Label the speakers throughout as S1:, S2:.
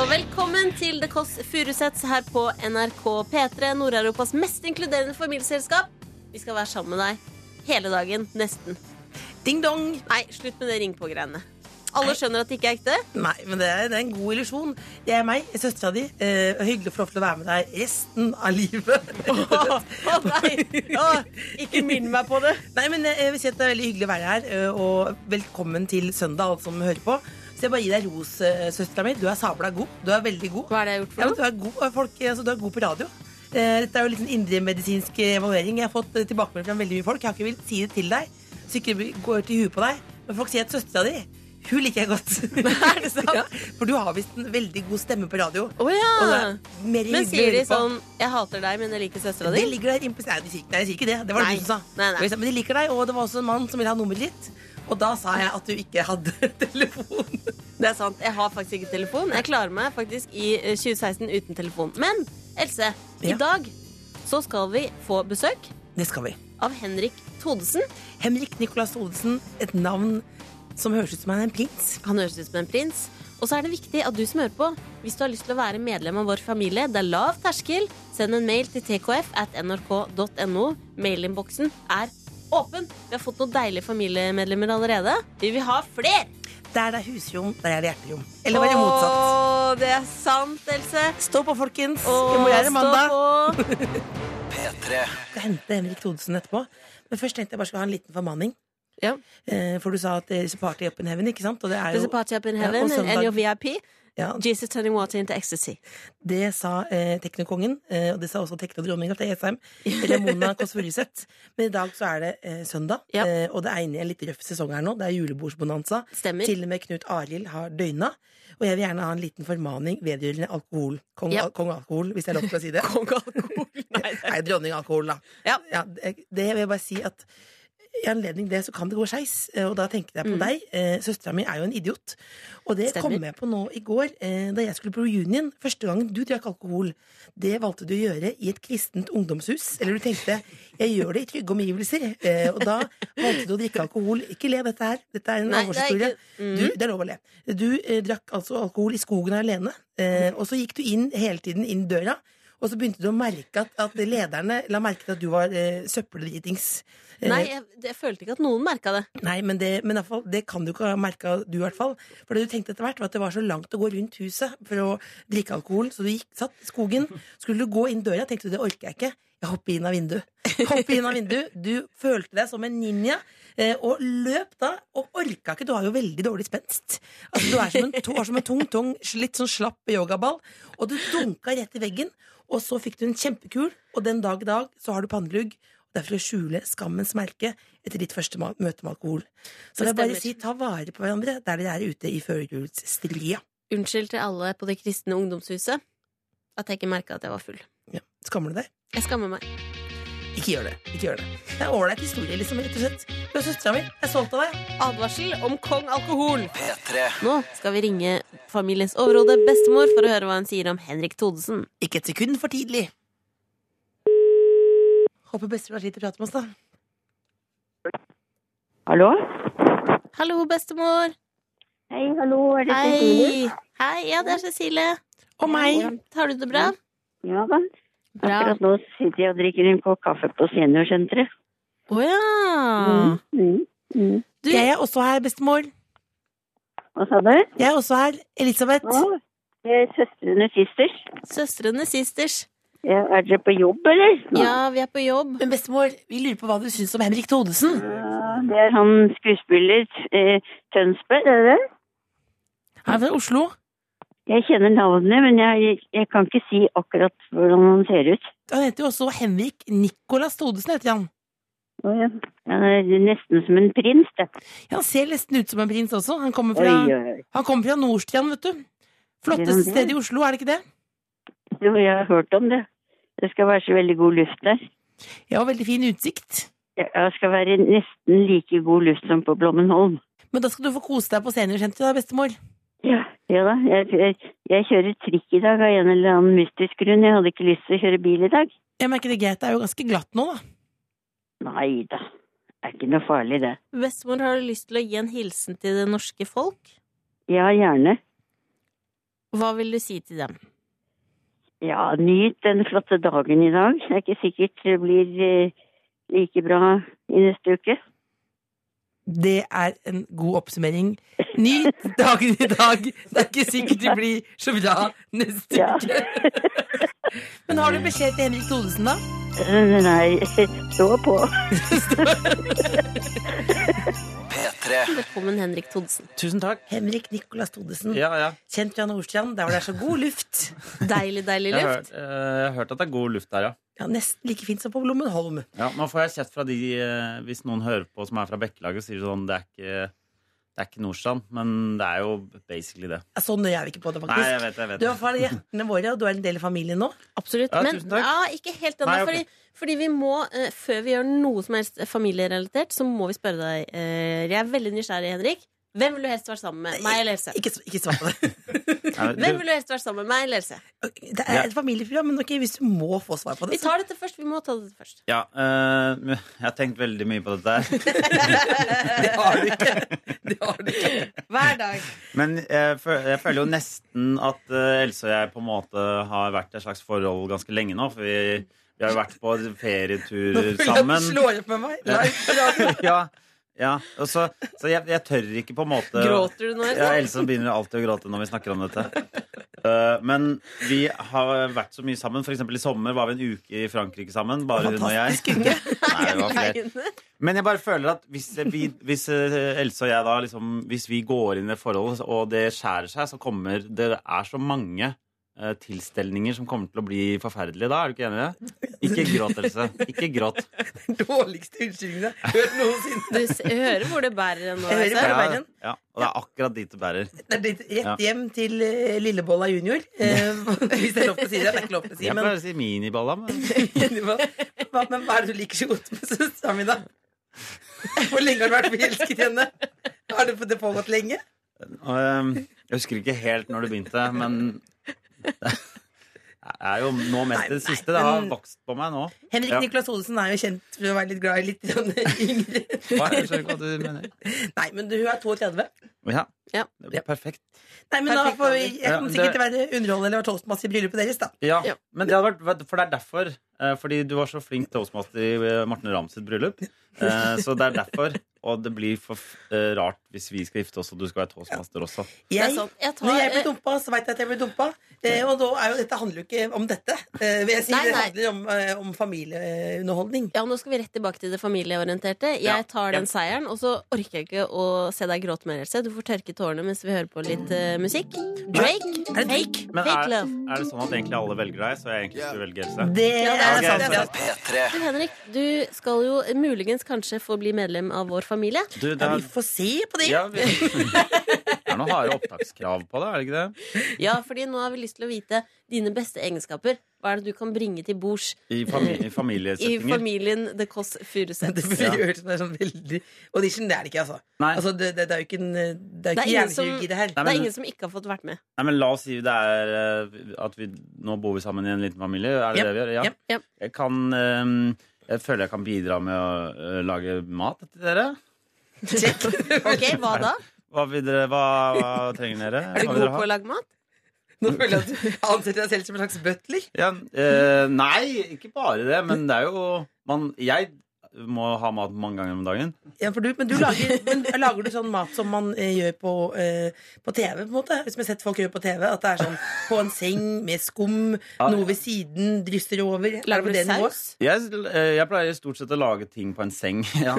S1: Velkommen til The Kåss Furuseths her på NRK P3, Nord-Europas mest inkluderende familieselskap. Vi skal være sammen med deg hele dagen, nesten.
S2: Ding dong!
S1: Nei, slutt med det ring-på-greiene. Alle skjønner at det ikke er ekte.
S2: Nei, men det er, det er en god illusjon. Det er meg, søstera di. Eh, og hyggelig å få lov til å være med deg resten av livet.
S1: Å, å nei! Å, ikke minn meg på det.
S2: Nei, men eh, jeg jeg vil si at det er veldig hyggelig å være her, eh, og velkommen til søndag, alle som hører på. Så jeg bare gir deg ros, eh, søstera mi. Du er sabla god. Du er veldig god.
S1: Hva er det jeg har gjort
S2: Ja,
S1: for
S2: men du,
S1: noe?
S2: er god, eh, folk, altså, du er god på radio. Eh, Dette er jo litt en indremedisinsk evaluering. Jeg har fått eh, tilbakemelding fra veldig mye folk. Jeg har ikke villet si det til deg, så ikke det blir- går til huet på deg. Men folk sier at søstera di hun liker jeg godt.
S1: Er det sant?
S2: Ja, For du har visst en veldig god stemme på radio.
S1: Å
S2: Og det
S1: ja.
S2: er mer
S1: Ah. Men
S2: hyggelig å
S1: sier de
S2: høre på.
S1: sånn 'Jeg hater deg, men jeg liker søstera
S2: Det
S1: di'?
S2: ligger der implisitt. Nei, de sier ikke- nei, de sier ikke det. Det var det
S1: Nei.
S2: du som sa.
S1: Nei, nei.
S2: Og jeg sa, Men de liker deg, og det var også en mann som ville ha nummeret ditt. Og da sa jeg at du ikke hadde telefon.
S1: Det er sant. Jeg har faktisk ikke telefon. Jeg klarer meg faktisk i eh, 2016 uten telefon. Men Else, i
S2: Ja.
S1: dag så skal vi få besøk
S2: Det skal vi.
S1: av Henrik Thodesen.
S2: Henrik Nicolas Olsen, et navn som høres ut som han er en prins.
S1: Han høres ut som en prins. Og så er det viktig at du som hører på, hvis du har lyst til å være medlem av vår familie, det er lav terskel, send en mail til tkf at nrk.no. Mailinnboksen er åpen. Vi har fått noen deilige familiemedlemmer allerede. Vi vil ha flere!
S2: Der det er husrom, der er det hjerterom. Eller var det motsatt?
S1: Åh, det er sant, Else.
S2: Stå på, folkens.
S1: Åh,
S2: I morgen er det mandag.
S1: stå på.
S3: P3
S2: Jeg skal hente Henrik Thodesen etterpå. Men først tenkte jeg bare skulle ha en liten formaning.
S1: Ja.
S2: Eh, For du sa at there's a party up in heaven, ikke sant? Og det er
S1: There's
S2: jo
S1: a party up in
S2: Ja, og
S1: heaven, and- and
S2: søndag-
S1: your VIP.
S2: ja,
S1: Jesus turning water into ecstasy.
S2: Det sa eh, teknokongen, eh, og det sa også teknodronninga til E Esheim. Ramona Kåss Furuseth. Men i dag så er det eh, søndag,
S1: Ja.
S2: eh, og det er inne i en litt røff sesong her nå. Det er julebordsbonanza.
S1: Stemmer.
S2: Til og med Knut Arild har døgna. Og jeg vil gjerne ha en liten formaning vedgjørende alkohol. Kong,
S1: Ja.
S2: al kong alkohol, hvis det er lov til å si det.
S1: Kong alkohol. Nei, det-
S2: Nei, dronning alkohol, da.
S1: Ja.
S2: det, det vil jeg bare si at i anledning det så kan det gå skeis, eh, og da tenkte jeg på deg. Eh, Søstera mi er jo en idiot. Og det
S1: Mm. Stemmer.
S2: kom jeg på nå i går, eh, da jeg skulle på reunion. Første gangen du drakk alkohol, det valgte du å gjøre i et kristent ungdomshus. Eller du tenkte 'jeg gjør det i trygge omgivelser'. Eh, og da valgte du å drikke alkohol. Ikke le av dette her, dette er en
S1: Nei, det er
S2: alvorshistorie.
S1: ikke- Mhm.
S2: Du- Det er lov å le. Du eh, drakk altså alkohol i skogen alene,
S1: Mm.
S2: eh, og så gikk du inn hele tiden inn døra. Og så begynte du å merke at, at lederne la merke til at du var eh, søppeldritings. Eh,
S1: Nei, jeg, jeg følte ikke at noen merka det.
S2: Nei, men, det, men i hvert fall, det kan du ikke ha merka, du i hvert fall. For det du tenkte etter hvert, var at det var så langt å gå rundt huset for å drikke alkohol. Så du gikk, satt i skogen. Skulle du gå inn døra, tenkte du det orker jeg ikke. Jeg hopper inn av vinduet. Hopper inn av vinduet. Du følte deg som en ninja, eh, og løp da, og orka ikke. Du har jo veldig dårlig spenst. Altså, du er som en, to, er som en tung, tung, sl- litt sånn slapp yogaball. Og du dunka rett i veggen, og så fikk du en kjempekul, og den dag i dag så har du pannelugg. Det er for å skjule skammens merke etter ditt første ma- møte med alkohol. Så
S1: Det
S2: det er bare
S1: stemmer.
S2: å si ta vare på hverandre der dere er ute i førjulsstria.
S1: Unnskyld til alle på det kristne ungdomshuset at jeg ikke merka at jeg var full.
S2: Ja. Skammer du deg?
S1: Jeg skammer meg.
S2: Ikke gjør det. Ikke gjør det. Det er ålreit historie, liksom, rett og slett. Du er søstera mi. Jeg er stolt av deg.
S1: Advarsel om kong alkohol.
S3: P3
S1: Nå skal vi ringe familiens overhode, bestemor, for å høre hva hun sier om Henrik Thodesen.
S2: Ikke et sekund for tidlig. Håper bestemor har tid til å prate med oss, da.
S4: Hallo?
S1: Hallo, bestemor.
S4: Hei, hallo, er det Cecilie?
S1: Hei. Hei. Ja, det er Cecilie.
S2: Og meg.
S1: Har du det bra?
S4: Ja da.
S1: Bra.
S4: Akkurat nå sitter jeg og drikker en kopp kaffe på seniorsenteret.
S1: Å ja.
S4: Mm. Mm.
S1: Du,
S2: Jeg er også her, bestemor.
S4: Hva sa du?
S2: Jeg er også her. Elisabeth.
S4: Å, det er søstrene sisters.
S1: søstrene sisters.
S4: Ja, er dere på jobb, eller?
S1: Ja, vi er på jobb.
S2: Men bestemor, vi lurer på hva du syns om Henrik Thodesen.
S4: Ja, Det er han skuespiller eh, Tønsberg, er det det?
S2: Han er fra Oslo.
S4: Jeg kjenner navnet, men jeg, jeg kan ikke si akkurat hvordan han ser ut.
S2: Han heter jo også Henrik Nicolas Thodesen, heter han.
S4: Å, ja. Han er nesten som en prins, det.
S2: Ja, Han ser nesten ut som en prins også. Han kommer
S4: Oi,
S2: fra,
S4: oi, oi.
S2: han kommer fra Nordstrand, vet du.
S4: Gjør han
S2: Flotteste
S4: det?
S2: stedet i Oslo, er det ikke det?
S4: Jo, jeg har hørt om det. Det skal være så veldig god luft der.
S2: Ja, og veldig fin utsikt.
S4: Ja, det skal være nesten like god luft som på Blommenholm.
S2: Men da skal du få kose deg på seniorsenteret, da, bestemor.
S4: Ja, ja da. Jeg, jeg, jeg kjører trikk i dag av en eller annen mystisk grunn. Jeg hadde ikke lyst til å kjøre bil i dag.
S2: Jeg merker det er greit, det er jo ganske glatt nå, da.
S4: Nei da. Det er ikke noe farlig, det.
S1: Bestemor, har du lyst til å gi en hilsen til det norske folk?
S4: Ja, gjerne.
S1: Hva vil du si til dem?
S4: Ja, nyt den flotte dagen i dag. Det er ikke sikkert det blir eh, like bra i neste uke.
S2: Det er en god oppsummering. Nyt dagen i dag. Det er ikke sikkert det blir så bra neste
S4: Ja.
S2: uke. Men har du beskjed til Henrik Thodesen, da?
S4: Eh, Nei, stå på.
S3: P3.
S1: Velkommen, Henrik Thodesen.
S5: Tusen takk.
S2: Henrik Nicolas Thodesen.
S5: Ja, ja.
S2: Kjent fra Nordstrand, der hvor det er så god luft.
S1: Deilig, deilig
S5: Jeg har hørt,
S1: luft.
S5: eh, jeg har hørt at det er god luft der, ja.
S2: Ja, Nesten like fint som på Blommenholm.
S5: ja. Nå får jeg kjeft fra de, eh, hvis noen hører på som er fra Bekkelaget, sier de sånn det er, ikke, det er ikke Nordstrand, men det er jo basically det.
S2: Ja, Så nøye er vi Sånn ikke på det,
S5: Nei, jeg
S2: faktisk.
S5: vet det. jeg vet
S2: Du
S5: det.
S2: er fra hjertene våre, og du er en del av familien nå.
S1: Absolutt.
S5: Ja,
S1: Men
S5: tusen takk.
S1: ja, ikke helt ennå.
S5: Nei, ok.
S1: fordi, fordi vi må, eh, før vi gjør noe som helst eh, familierelatert, så må vi spørre deg. eh, jeg er veldig nysgjerrig, Henrik. Hvem vil du helst være sammen med? Meg eller Else?
S2: Ikke, s- ikke svar på det.
S5: Nei,
S1: Hvem
S5: men du-
S1: vil du helst være sammen med? Meg eller Else?
S2: Det er et familieprogram, men ok, hvis du må få svar på
S1: Vi
S2: det så-
S1: tar dette først. Vi må ta dette først.
S5: Ja, eh, jeg har tenkt veldig mye på dette her.
S2: Det har du ikke. Det har du ikke.
S1: Hver dag.
S5: Men jeg, fø- jeg føler jo nesten at eh, Else og jeg på en måte har vært i et slags forhold ganske lenge nå. For vi, vi har jo vært på ferieturer sammen.
S2: Slår opp med meg.
S5: ja, ja. Og så, så jeg, jeg tør ikke på en måte
S1: Gråter du nå?
S5: ja,
S1: Else?
S5: Else begynner alltid å gråte når vi snakker om dette. Eh, men vi har vært så mye sammen. For eksempel i sommer var vi en uke i Frankrike sammen. Bare hun og jeg.
S2: Fantastisk uke.
S5: Nei, det var flere.
S1: Nei.
S5: Men jeg bare føler at hvis, vi, hvis eh, Else og jeg da liksom, Hvis vi går inn i forholdet og det skjærer seg, så kommer det er så mange eh, tilstelninger som kommer til å bli forferdelige da. Er du ikke enig i det? Ikke gråt, Else. Ikke gråt.
S2: Dårligste unnskyldningene jeg har hørt noensinne.
S1: Du s- hører hvor det bærer nå.
S2: Jeg hører
S1: Else.
S2: det verre enn?
S5: ja, og det er akkurat dit det bærer.
S2: Det er blitt
S5: Ja.
S2: rett hjem til eh, Lillebolla junior. Eh, hvis det er lov til å si det. Det er ikke lov til å si,
S5: Jeg
S2: men
S5: pleier å si miniballa, men
S2: hva, men hva er det du liker så godt med søstera mi, da? Hvor lenge har du vært forelsket i henne? Har det, det pågått lenge?
S5: og, eh, Jeg husker ikke helt når det begynte, men det er jo nå mest
S2: Nei,
S5: det
S2: nei,
S5: siste. Det har
S2: men-
S5: vokst på meg nå.
S2: Henrik
S5: Ja.
S2: Nicolas Olsen er jo kjent for å være litt glad i litt grann yngre.
S5: Hva er det, jeg skjønner ikke hva du mener.
S2: Nei, men du, hun er 32.
S5: Ja,
S1: Ja.
S5: det blir perfekt.
S2: Nei, men da
S1: Perfekt
S2: får vi,
S1: alder.
S2: jeg kommer
S5: Ja,
S2: sikkert til å være underholdende eller være toastmaster i bryllupet deres, da.
S5: Ja,
S1: Ja.
S5: men det hadde vært For det er derfor. eh, Fordi du var så flink toastmaster i eh, Morten Ramm sitt bryllup. Eh, Så det er derfor. Og det blir for f- eh, rart hvis vi skal gifte oss, og du skal være toastmaster også.
S1: Det er
S2: Jeg,
S1: sant. Jeg tar,
S2: når jeg ble
S1: eh,
S2: dumpa, så veit jeg at jeg ble dumpa. Eh, og da er jo, dette handler jo ikke om dette. Eh, vil jeg si,
S1: Nei,
S2: Det
S1: nei.
S2: handler om, eh, om familieunderholdning.
S1: Ja, nå skal vi rett tilbake til det familieorienterte.
S5: Ja.
S1: Jeg tar den seieren, og så orker jeg ikke å se deg gråte mer, Else. Du får tørke tårene mens vi hører på litt eh, musikk. Drake,
S2: Er det
S1: fake,
S5: Men
S1: fake
S5: er,
S1: love.
S5: er det sånn at egentlig alle velger deg, så jeg egentlig skulle velge Else?
S2: Det
S1: Ja, det er
S2: er sant.
S5: sant,
S2: det er
S5: det
S2: sant.
S3: P3.
S1: Du, Henrik, du skal jo muligens kanskje få bli medlem av vår familie.
S5: Du, det
S2: Ja, vi
S5: er,
S2: får se på det.
S5: ja, vi, det er noen harde opptakskrav på det, er det ikke det?
S1: Ja, fordi nå har vi lyst til å vite dine beste egenskaper. Hva er det du kan bringe til bords
S5: I, fami i
S1: i
S5: familiesettinger.
S1: familien The Kåss
S2: Det
S1: Furuseths?
S2: blir jo hørt som det er sånn veldig Audition, det er det ikke, altså.
S5: Nei.
S2: altså det, det, det er jo ikke, en, eh, det er jo
S1: Det er
S2: ikke
S1: ingen som-
S2: hjernekirurgi, det her.
S1: Det
S5: Nei,
S1: er
S5: men-
S1: ingen som ikke har fått vært med.
S5: Nei, men La oss si det er eh, at vi nå bor vi sammen i en liten familie. Er det
S2: Jep,
S5: det vi gjør? Ja.
S2: jep,
S1: jep.
S5: Jeg kan eh, Jeg føler jeg kan bidra med å eh, lage mat til dere.
S1: Ok, Hva da?
S5: Hva, vil dere, hva, hva trenger dere?
S1: Er du
S5: Hva
S1: god
S5: vil dere
S1: på å lage mat?
S2: Nå føler jeg at du ansetter deg selv som en slags butler.
S5: Ja, eh, nei, ikke bare det, men det er jo man, Jeg må ha mat mange ganger om dagen.
S2: Ja, for du, men, du lager, men lager du sånn mat som man eh, gjør på, eh, på TV, på en måte? Hvis vi har sett folk gjøre på TV, at det er sånn på en seng med skum,
S5: Ja.
S2: noe ved siden, drysser over. Er det på
S1: Lager du
S2: det nivået?
S1: saus?
S5: Jeg, eh, jeg pleier stort sett å lage ting på en seng. Ja.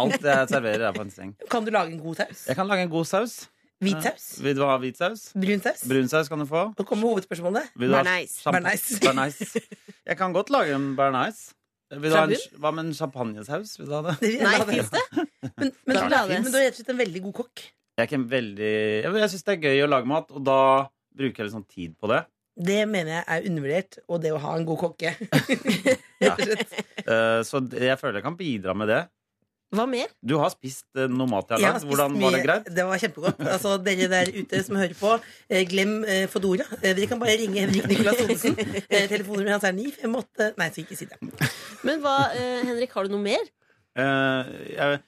S5: Alt jeg serverer, er på en seng.
S2: Kan du lage en god saus?
S5: Jeg kan lage en god saus.
S2: Hvit saus?
S5: Vil du ha hvit saus?
S2: Brun saus?
S5: Brun saus kan du få.
S2: Nå kommer hovedspørsmålet.
S5: Vil du ha
S1: Bernaise.
S5: sjamp-
S2: Bernaise.
S5: Bernaise. Jeg kan godt lage en bearnais.
S1: Sjabun?
S5: Hva med en champagnesaus? Vil du ha det?
S2: Det vil jeg
S1: Nei,
S2: ha det.
S1: fins det?
S2: Men, men,
S1: Klart
S2: men,
S1: det finnes.
S2: du er rett og slett en veldig god kokk.
S5: Jeg, er ikke en veldig, jeg, jeg syns det er gøy å lage mat, og da bruker jeg litt sånn tid på det.
S2: Det mener jeg er undervurdert, og det å ha en god kokke. Rett og slett.
S5: Eh, så det- jeg føler jeg kan bidra med det.
S1: Hva mer?
S5: Du har spist eh, noe mat jeg
S2: Jeg
S5: har
S2: har
S5: lagd.
S2: spist
S5: Hvordan var det
S2: mye-
S5: greit?
S2: Det var kjempegodt. Altså, dere der ute som hører på, eh, glem eh, Fodora. Eh, dere kan bare ringe Henrik Nicolas Odesen. Eh, telefonnummeret hans er 958 Nei, så ikke si det.
S1: Men hva, eh, Henrik, har du noe mer?
S5: Eh, jeg,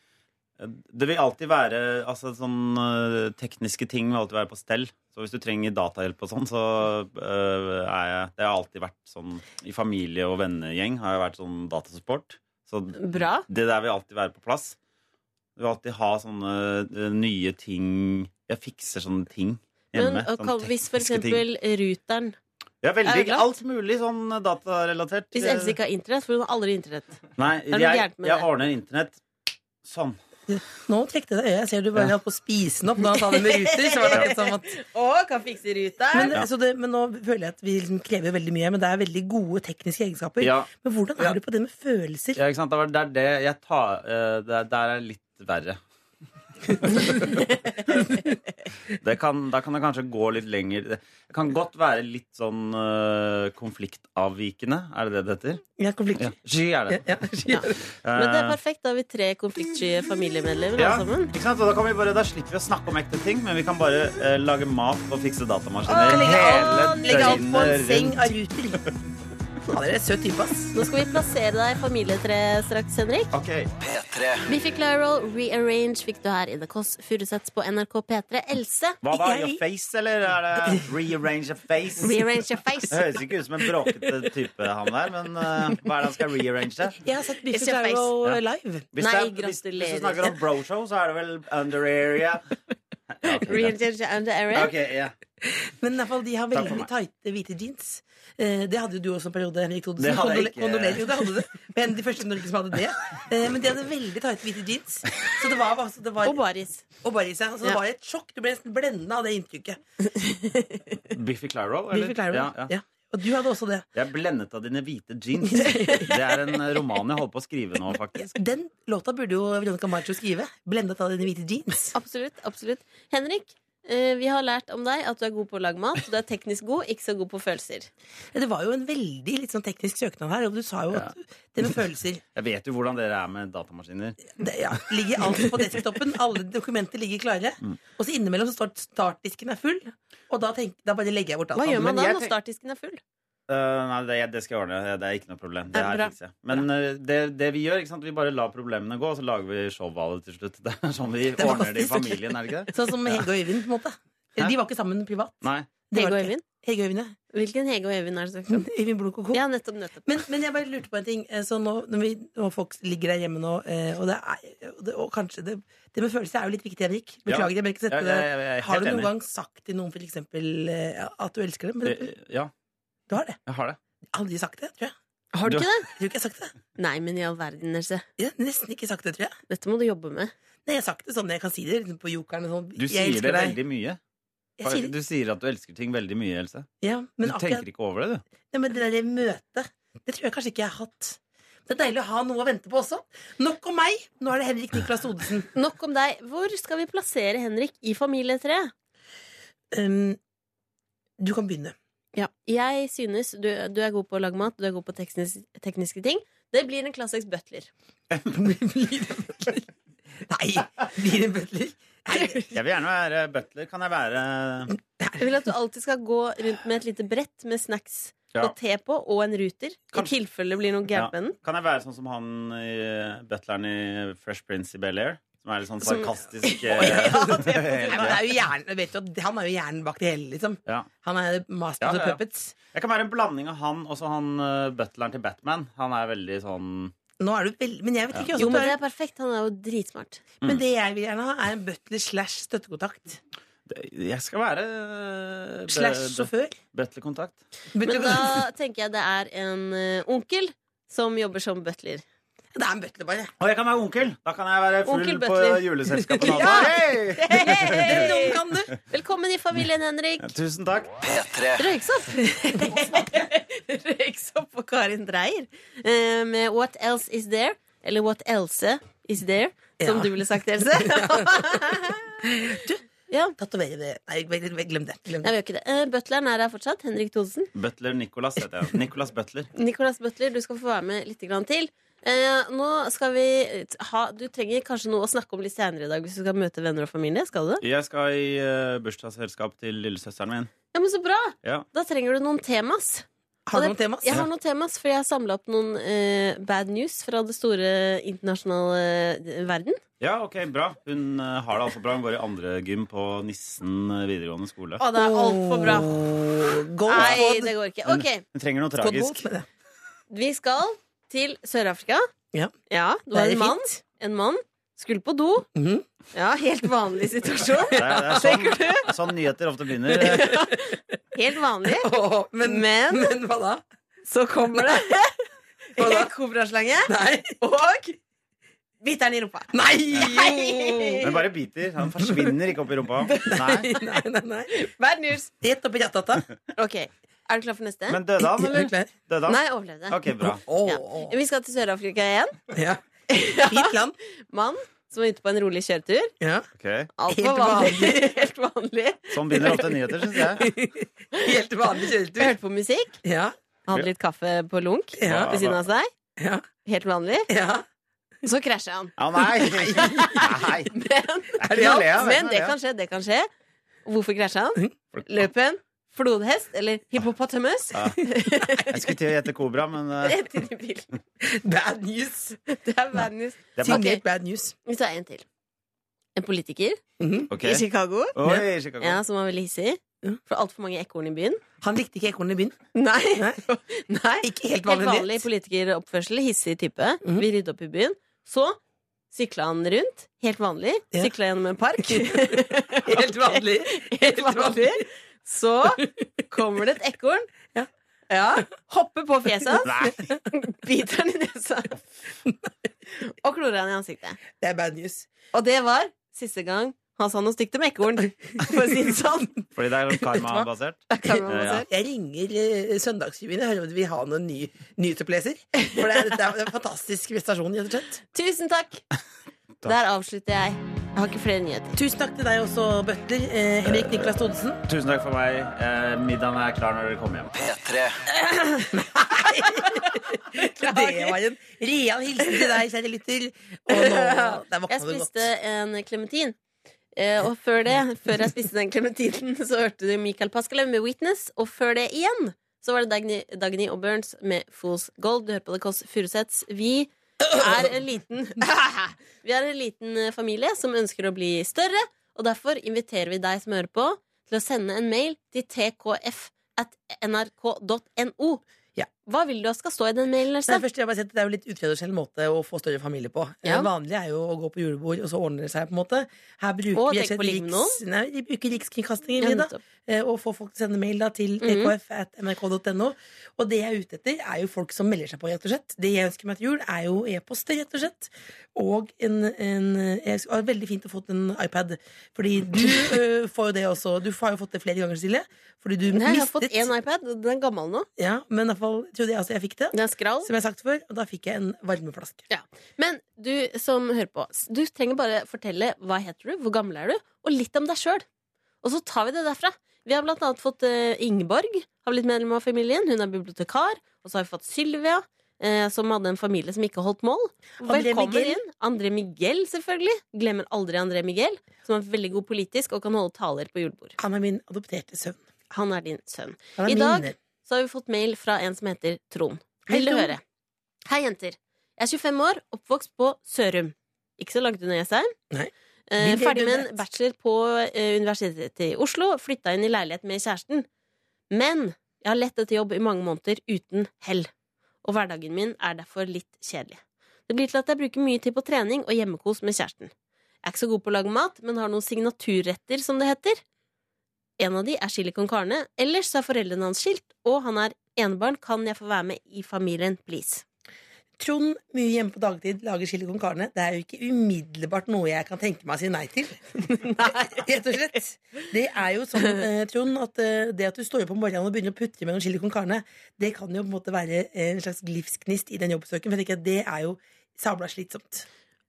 S5: Det vil alltid være altså, sånn, eh, Tekniske ting vil alltid være på stell. Så hvis du trenger datahjelp og sånn, så eh, er jeg Det har alltid vært sånn I familie- og vennegjeng har jeg vært sånn datasupport. Så
S1: Bra.
S5: det der vil alltid være på plass. Du vil alltid ha sånne eh, nye ting Jeg fikser sånne ting hjemme.
S1: Men og,
S5: sånne
S1: hva- hvis for
S5: tekniske ting.
S1: eksempel ruteren
S5: Ja,
S1: Er du
S5: veldig
S1: glad?
S5: Alt mulig sånn datarelatert.
S1: Hvis Else ikke har internett, for hun har aldri internett.
S5: Nei,
S1: noe
S5: jeg,
S1: gærent med
S5: jeg
S1: det?
S5: ordner internett sånn.
S2: Nå trekte jeg deg i øyet. Jeg ser du bare holdt på å spise den opp. Da han sa det med ruter, så var det akkurat som at
S1: Å, kan fikse ruteren!
S2: men, eh, så det, men nå føler jeg at vi liksom krever veldig mye, men det er veldig gode tekniske egenskaper.
S5: Ja.
S2: Men hvordan
S5: Ja.
S2: er du på det med følelser?
S5: Ja, ikke sant? Det var- Det er det jeg tar eh, det er- Der er litt verre. det kan, da kan det kanskje gå litt lenger. Det kan godt være litt sånn eh, konfliktavvikende. Er det det det heter?
S2: Ja,
S5: Ja.
S2: konflikter.
S5: Sky er
S2: Ja.
S5: det.
S2: Ja. Ja.
S1: Men det er
S5: Eh,
S1: perfekt. Da har vi tre konfliktsky familiemedlemmer
S5: ja,
S1: alle sammen.
S5: ikke sant? Og da, kan vi bare, da slipper vi å snakke om ekte ting, men vi kan bare eh, lage mat og fikse datamaskiner.
S2: Å, legge
S5: hele
S1: alt- legge alt
S2: På en
S5: døgnet
S2: seng
S5: rundt.
S2: av ruter. Han er en søt type, ass.
S1: Nå skal vi plassere deg i familietreet straks, Henrik.
S5: Ok.
S3: P3.
S1: Biffy Clyro, Rearrange fikk du her i The Kåss Furuseths på NRK P3. Else,
S5: Hva da?
S2: Jeg-
S5: Your face, eller er det rearrange your face?
S1: rearrange your face.
S5: Det høres ikke ut som en bråkete type, han der, men eh, hva er det han skal rearrange det?
S2: Jeg har sett Biffy
S1: It's your face.
S2: Clyro
S5: Ja.
S2: live.
S5: Hvis
S1: Nei,
S5: det er, hvis, hvis
S1: gratulerer.
S5: du snakker om broshow, så er det vel under area. Ja, ok, greit.
S1: Rearrange your under area.
S5: Ok, ja.
S2: Men i hvert fall, de har
S5: Takk for
S2: veldig
S5: meg.
S2: tighte hvite jeans. Eh, det hadde jo du også en periode, Henrik Thodesen.
S5: Det hadde jeg ikke.
S2: Kondolerer. Jo, det hadde du. Men de første i Norge som hadde det. Eh, men de hadde veldig tighte hvite jeans. Så det var, altså, det var
S1: Og baris.
S2: og bare i seg. Altså,
S1: Ja.
S2: Det var et sjokk. Du ble nesten blendende av det inntrykket.
S5: Biffy Clyro, eller?
S2: Biffy Clyro.
S5: Ja, ja.
S2: Ja. Og du hadde også det.
S5: Jeg er blendet av dine hvite jeans. Det er en eh, roman jeg holder på å skrive nå, faktisk.
S2: Den låta burde jo Veronica Maggio skrive. 'Blendet av dine hvite jeans'.
S1: Absolutt. absolutt Henrik, eh, vi har lært om deg at du er god på å lage mat. Du er teknisk god, ikke så god på følelser.
S2: Det var jo en veldig litt sånn teknisk søknad her, og du sa jo at det med følelser
S5: Jeg vet jo hvordan dere er med datamaskiner.
S2: det, ja, Ligger alt på desktopen, alle dokumenter ligger klare.
S5: Mm.
S2: Og så innimellom så står det startdisken er full, og da, tenk, da bare legger jeg bort alt.
S1: Hva gjør man
S5: men
S1: da
S5: jeg
S1: når
S5: tenk-
S1: startdisken er full?
S5: Eh, nei, det, det skal jeg ordne. Det er ikke noe problem. Det
S1: Ja,
S5: her
S1: bra.
S5: fikser jeg. Men eh, det, det vi gjør, ikke sant? vi bare lar problemene gå, og så lager vi show av det til slutt. Det er sånn vi
S2: Det er
S5: ordner det i
S2: fantastisk.
S5: familien, er det ikke det?
S2: Sånn som Hege og Øyvind, på en måte.
S5: Hæ?
S2: De var ikke sammen privat.
S5: Nei.
S2: Det
S1: Hege
S2: var
S1: og
S2: det ikke.
S1: Øyvind?
S2: Hege og Øyvind, ja.
S1: Hvilken Hege og Øyvind er det snakk om?
S2: Øyvind Blunk og Co.
S1: Ja, nettopp. nettopp
S2: Men, men jeg bare lurte på en ting. Eh, Så nå, når, vi, når folk ligger der hjemme nå, eh, og det er og det, og kanskje det, det med følelser er jo litt viktig, Henrik. Beklager, jeg bør ikke sette
S5: Jeg, jeg,
S2: det.
S5: jeg, jeg er
S2: Har du noen
S5: helt enig.
S2: gang sagt til noen for eksempel eh, at du elsker dem?
S5: Eh, Ja,
S2: Du har det.
S5: jeg har det.
S2: Aldri sagt det, tror jeg.
S1: Har du
S5: Du-
S1: ikke det?
S2: Jeg tror ikke jeg har sagt det.
S1: Nei, men i all verden, Else.
S2: Jeg har nesten ikke sagt det, tror jeg.
S1: Dette må du jobbe med.
S2: Nei, jeg har sagt det sånn jeg kan si det liksom på jokeren. og Sånn.
S5: Du
S2: jeg
S5: sier det
S2: elsker deg.
S5: veldig mye.
S2: Jeg sier det.
S5: Du sier at du elsker ting veldig mye, Else.
S2: Ja,
S5: Du
S2: men akkurat
S5: tenker ikke over det, du.
S2: Nei, men det der møtet, det tror jeg kanskje ikke jeg har hatt. Det er deilig å ha noe å vente på også. Nok om meg! Nå er det Henrik Niklas Thodesen.
S1: Nok om deg. Hvor skal vi plassere Henrik i familietreet?
S2: Um, du kan begynne.
S1: Jeg synes du, du er god på å lage mat, du er god på teknisk, tekniske ting. Det blir en klassisk butler.
S2: Blir det butler? Nei! Blir det butler? Nei.
S5: Jeg vil gjerne være butler. Kan jeg være
S1: Jeg vil at du alltid skal gå rundt med et lite brett med snacks
S5: Ja.
S1: og te på, og en ruter. I
S5: Kan-
S1: tilfelle det blir noe
S5: Ja.
S1: gærent med den.
S5: Kan jeg være sånn som han i eh, butleren i Fresh Prince i Bel-Air? Som er litt sånn
S1: Som-
S5: sarkastisk
S2: Ja, det-
S5: eh,
S2: Nei, men det er jo hjernen, jeg vet jo, at han er jo hjernen bak det hele, liksom.
S5: ja.
S2: Han er master
S5: Ja,
S2: of
S5: ja,
S2: the
S5: ja.
S2: puppets.
S5: Jeg kan være en blanding av han og så han eh, butleren til Batman. Han er veldig sånn
S2: Nå er du veldig Men jeg vet ikke.
S1: Jo,
S2: også,
S1: men
S2: men,
S1: det er perfekt. Han er jo dritsmart.
S2: men det jeg vil gjerne ha, er en butler slash støttekontakt.
S5: Jeg skal være eh, bu-
S2: Slash sjåfør.
S5: butlerkontakt.
S1: Men
S2: Butler-
S1: da tenker jeg det er en eh, onkel som jobber som butler.
S2: Det er en butler, bare.
S5: Og jeg kan være onkel! Da kan jeg være full
S1: Onkel
S5: på
S1: butler.
S5: juleselskapet.
S2: Ja.
S5: altså. Hey!
S2: Den kan du!
S1: Velkommen i familien, Henrik.
S5: Tusen takk.
S3: P3.
S1: Røyksopp! Røyksopp og Karin Dreyer eh, med What Else Is There? Eller What Else Is There? Som
S2: Ja.
S1: du ville sagt, Else.
S2: Tatovere det. Nei, glem det. Glem det.
S1: Nei, vi gjør ikke det. Eh, Butleren er her fortsatt. Henrik Thodesen.
S5: Butler Nicolas heter jeg. Nicolas Butler.
S1: Nicolas Butler, du skal få være med litt grann til. Eh, nå skal vi t- ha Du trenger kanskje noe å snakke om litt senere i dag hvis du skal møte venner og familie. Skal du det?
S5: Jeg skal i eh, bursdagsselskap til lillesøsteren min.
S1: Ja, men så bra!
S5: Ja.
S1: Da trenger du noen temas.
S2: Har du
S1: Og
S2: noen temas?
S1: Jeg har noen temas, for jeg har samla opp noen eh, bad news fra det store internasjonale eh, verden.
S5: Ja, ok, bra. Hun eh, har det altså bra. Hun går i andre gym på Nissen eh, videregående skole.
S1: Å, det er altfor bra.
S2: Åh, Gold
S1: Nei,
S2: squad.
S1: det går ikke. Ok,
S5: Hun trenger noe
S2: Squad
S5: tragisk.
S2: gold, mener jeg.
S1: vi skal til Sør-Afrika.
S2: Ja.
S1: det var
S2: Det er
S1: en mann. En mann. Skulle på do.
S2: Mhm.
S1: Ja, helt vanlig situasjon.
S5: Det er, det er sånn, sånn nyheter ofte begynner.
S1: Helt vanlig.
S2: Åh, men,
S1: Men-
S2: men hva da?
S1: Så kommer det
S2: Hva da?
S1: en kobraslange
S2: Nei!
S1: og biter den i rumpa.
S2: Nei!
S5: Men bare biter. Han forsvinner ikke opp i rumpa. Nei.
S2: Nei, nei, nei.
S1: Bad news.
S2: Rett opp i ratata.
S1: Ok, Er du klar for neste?
S5: Men døde
S2: Er
S5: han,
S2: du
S5: eller?
S2: klar?
S5: Døde han?
S1: Nei, overlevde.
S5: Ok, bra.
S2: Åh,
S1: Ja. Vi skal til Sør-Afrika igjen.
S2: Ja. Fint land.
S1: Mann som var ute på en rolig kjøretur.
S2: Ja.
S5: Ok.
S1: Altfor
S2: Helt
S1: vanlig. Helt vanlig.
S5: Sånn begynner ofte nyheter, syns jeg.
S2: Helt vanlig kjøretur.
S1: Hørte på musikk.
S2: Ja,
S1: Hadde litt kaffe på lunk
S2: Ja.
S1: ved siden av seg.
S2: ja,
S1: Helt vanlig.
S2: ja.
S1: Så krasjer han.
S5: Å nei! Nei.
S1: Men,
S5: Er det noe å le av?
S1: men det kan skje, det kan skje. Hvorfor krasja han? Løp en flodhest eller hippopotamus
S5: Ja. Jeg skulle til å gjette kobra, men eh,
S1: rett inn i bilen.
S2: Bad news.
S1: Det er bad news.
S5: det er
S2: Signert bad news.
S1: Vi tar en til. En politiker
S2: Mhm.
S5: Ok.
S1: i Chicago
S5: Oi, Chicago.
S1: ja, som var veldig hissig. For altfor mange ekorn i byen.
S2: Han likte ikke ekornet i byen.
S1: Nei.
S2: Nei.
S1: Nei.
S2: Ikke helt
S1: Helt
S2: vanlig
S1: vanlig
S2: nytt.
S1: politikeroppførsel, hissig type.
S2: Mhm.
S1: Vi rydda opp i byen. Så sykla han rundt, helt vanlig.
S2: Ja.
S1: Sykla gjennom en park.
S2: Helt vanlig.
S1: helt vanlig. Så kommer det et ekorn.
S2: Ja.
S1: Ja, Hopper på fjeset hans,
S5: Nei.
S1: biter han i nesa og klorer han i ansiktet.
S2: Det er bad news.
S1: Og det var siste gang han sa noe stygt om ekorn. For å si det sånn.
S5: Fordi det er sånn karma-basert.
S1: Da kan man
S5: Ja, ja.
S1: bare se.
S2: Jeg ringer eh, Søndagstjuven og hører om de vil ha noen ny, nyhetsoppleser. For det er, det er en fantastisk prestasjon. rett og slett.
S1: Tusen takk. Der avslutter jeg. Jeg har ikke flere nyheter.
S2: Tusen takk til deg også, butler eh, Henrik Niklas Thodesen.
S5: Tusen takk for meg. Eh, Middagen er klar når dere kommer hjem.
S3: P3.
S2: Det var en real hilsen til deg, kjære lytter. Og nå, der
S1: Jeg
S2: våkna du godt.
S1: spiste en klementin. Eh, og før det, før jeg spiste den klementinen, så hørte du Michael Paskalev med 'Witness'. Og før det igjen så var det Dagny, Dagny og Burns med 'Fools Gold'. Du hører på The Kåss Furuseths. Vi er en liten Vi er en liten eh, familie som ønsker å bli større, og derfor inviterer vi deg som hører på, til å sende en mail til tkf at nrk.no.
S2: Ja.
S1: Hva vil du at skal stå i den mailen?
S2: Nei,
S1: Else?
S2: først vil jeg bare si at Det er jo litt utradisjonell måte å få større familie på.
S1: Ja.
S2: Eh, Vanlig er jo å gå på julebord, og så ordner det seg. på en måte Her bruker
S1: Og
S2: vi
S1: tenk på å ligge med
S2: Riks- nei, vi bruker Rikskringkastingen,
S1: Ja,
S2: vi, da.
S1: nettopp.
S2: eh, Og får folk til å sende mail da til
S1: Mhm.
S2: tkf.nrk.no. Og det jeg er ute etter, er jo folk som melder seg på, rett og slett. Det jeg ønsker meg til jul, er jo e-poster, rett og slett. Og en, en jeg, skulle- ah, Veldig fint å få en iPad. Fordi du eh, får jo det også. Du har jo fått det flere ganger, Silje. Fordi du
S1: Nei, jeg har fått
S2: mistet
S1: én iPad, og den er gammel nå.
S2: Ja, Men i hvert fall trodde jeg altså jeg fikk det.
S1: Den er skral.
S2: Som jeg har sagt før, og da fikk jeg en varmeflaske.
S1: Men du som hører på, s- du trenger bare fortelle hva heter du, hvor gammel er du, og litt om deg sjøl. Og så tar vi det derfra. Vi har blant annet fått eh, Ingeborg, har blitt medlem av familien. Hun er bibliotekar. Og så har vi fått Sylvia, eh, som hadde en familie som ikke holdt mål.
S2: André
S1: Velkommen
S2: Miguel.
S1: inn. André Miguel, selvfølgelig. Glemmer aldri André Miguel, som er veldig god politisk og kan holde taler på julebord.
S2: Han er min adopterte sønn.
S1: Han er din sønn.
S2: Han er
S1: I
S2: min
S1: dag-
S2: venn.
S1: Så har vi fått mail fra en som heter Trond.
S2: Hei,
S1: Vil du
S2: Trond.
S1: høre? Hei, jenter. Jeg er 25 år, oppvokst på Sørum. Ikke så langt unna Jessheim.
S2: Nei.
S1: Eh,
S2: Vil
S1: ferdig
S2: du
S1: med
S2: det?
S1: en bachelor på eh, Universitetet i Oslo. Flytta inn i leilighet med kjæresten. Men jeg har lett etter jobb i mange måneder uten hell. Og hverdagen min er derfor litt kjedelig. Det blir til at jeg bruker mye tid på trening og hjemmekos med kjæresten. Jeg er ikke så god på å lage mat, men har noen signaturretter, som det heter. En av de er chili con carne. Ellers er foreldrene hans skilt, og han er enebarn. Kan jeg få være med i familien, please?
S2: Trond, mye hjemme på dagtid, lager chili con carne. Det er jo ikke umiddelbart noe jeg kan tenke meg å si nei til. Rett og slett. Det er jo sånn, eh, Trond, at eh, det at du står opp om morgenen og begynner å putre med noen chili con carne, det kan jo på en måte være eh, en slags livsgnist i den jobbsøken, for jeg tenker at det er jo sabla slitsomt.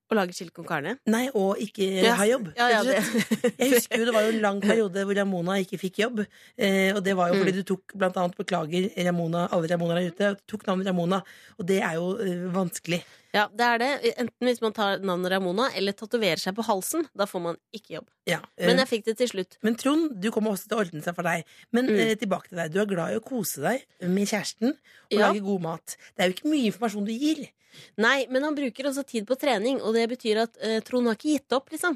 S1: Å lage chili con carne.
S2: Nei, og ikke eh,
S1: Ja,
S2: ha jobb.
S1: Ja, ja,
S2: rett og slett.
S1: det.
S2: Jeg husker jo det var jo en lang periode hvor Ramona ikke fikk jobb. Eh, og det var jo fordi
S1: Mm.
S2: du tok blant annet Beklager, Ramona, alle Ramonaer er ute. og Tok navnet Ramona. Og det er jo eh, vanskelig.
S1: Ja, det er det. Enten hvis man tar navnet Ramona eller tatoverer seg på halsen. Da får man ikke jobb.
S2: Ja.
S1: Men
S2: eh,
S1: jeg fikk det til slutt.
S2: Men Trond, du kommer også til å ordne seg for deg. Men
S1: Mm.
S2: eh, tilbake til deg. Du er glad i å kose deg med kjæresten og
S1: Ja.
S2: lage god mat. Det er jo ikke mye informasjon du gir.
S1: Nei, men han bruker også tid på trening, og det betyr at eh, Trond har ikke gitt opp, liksom.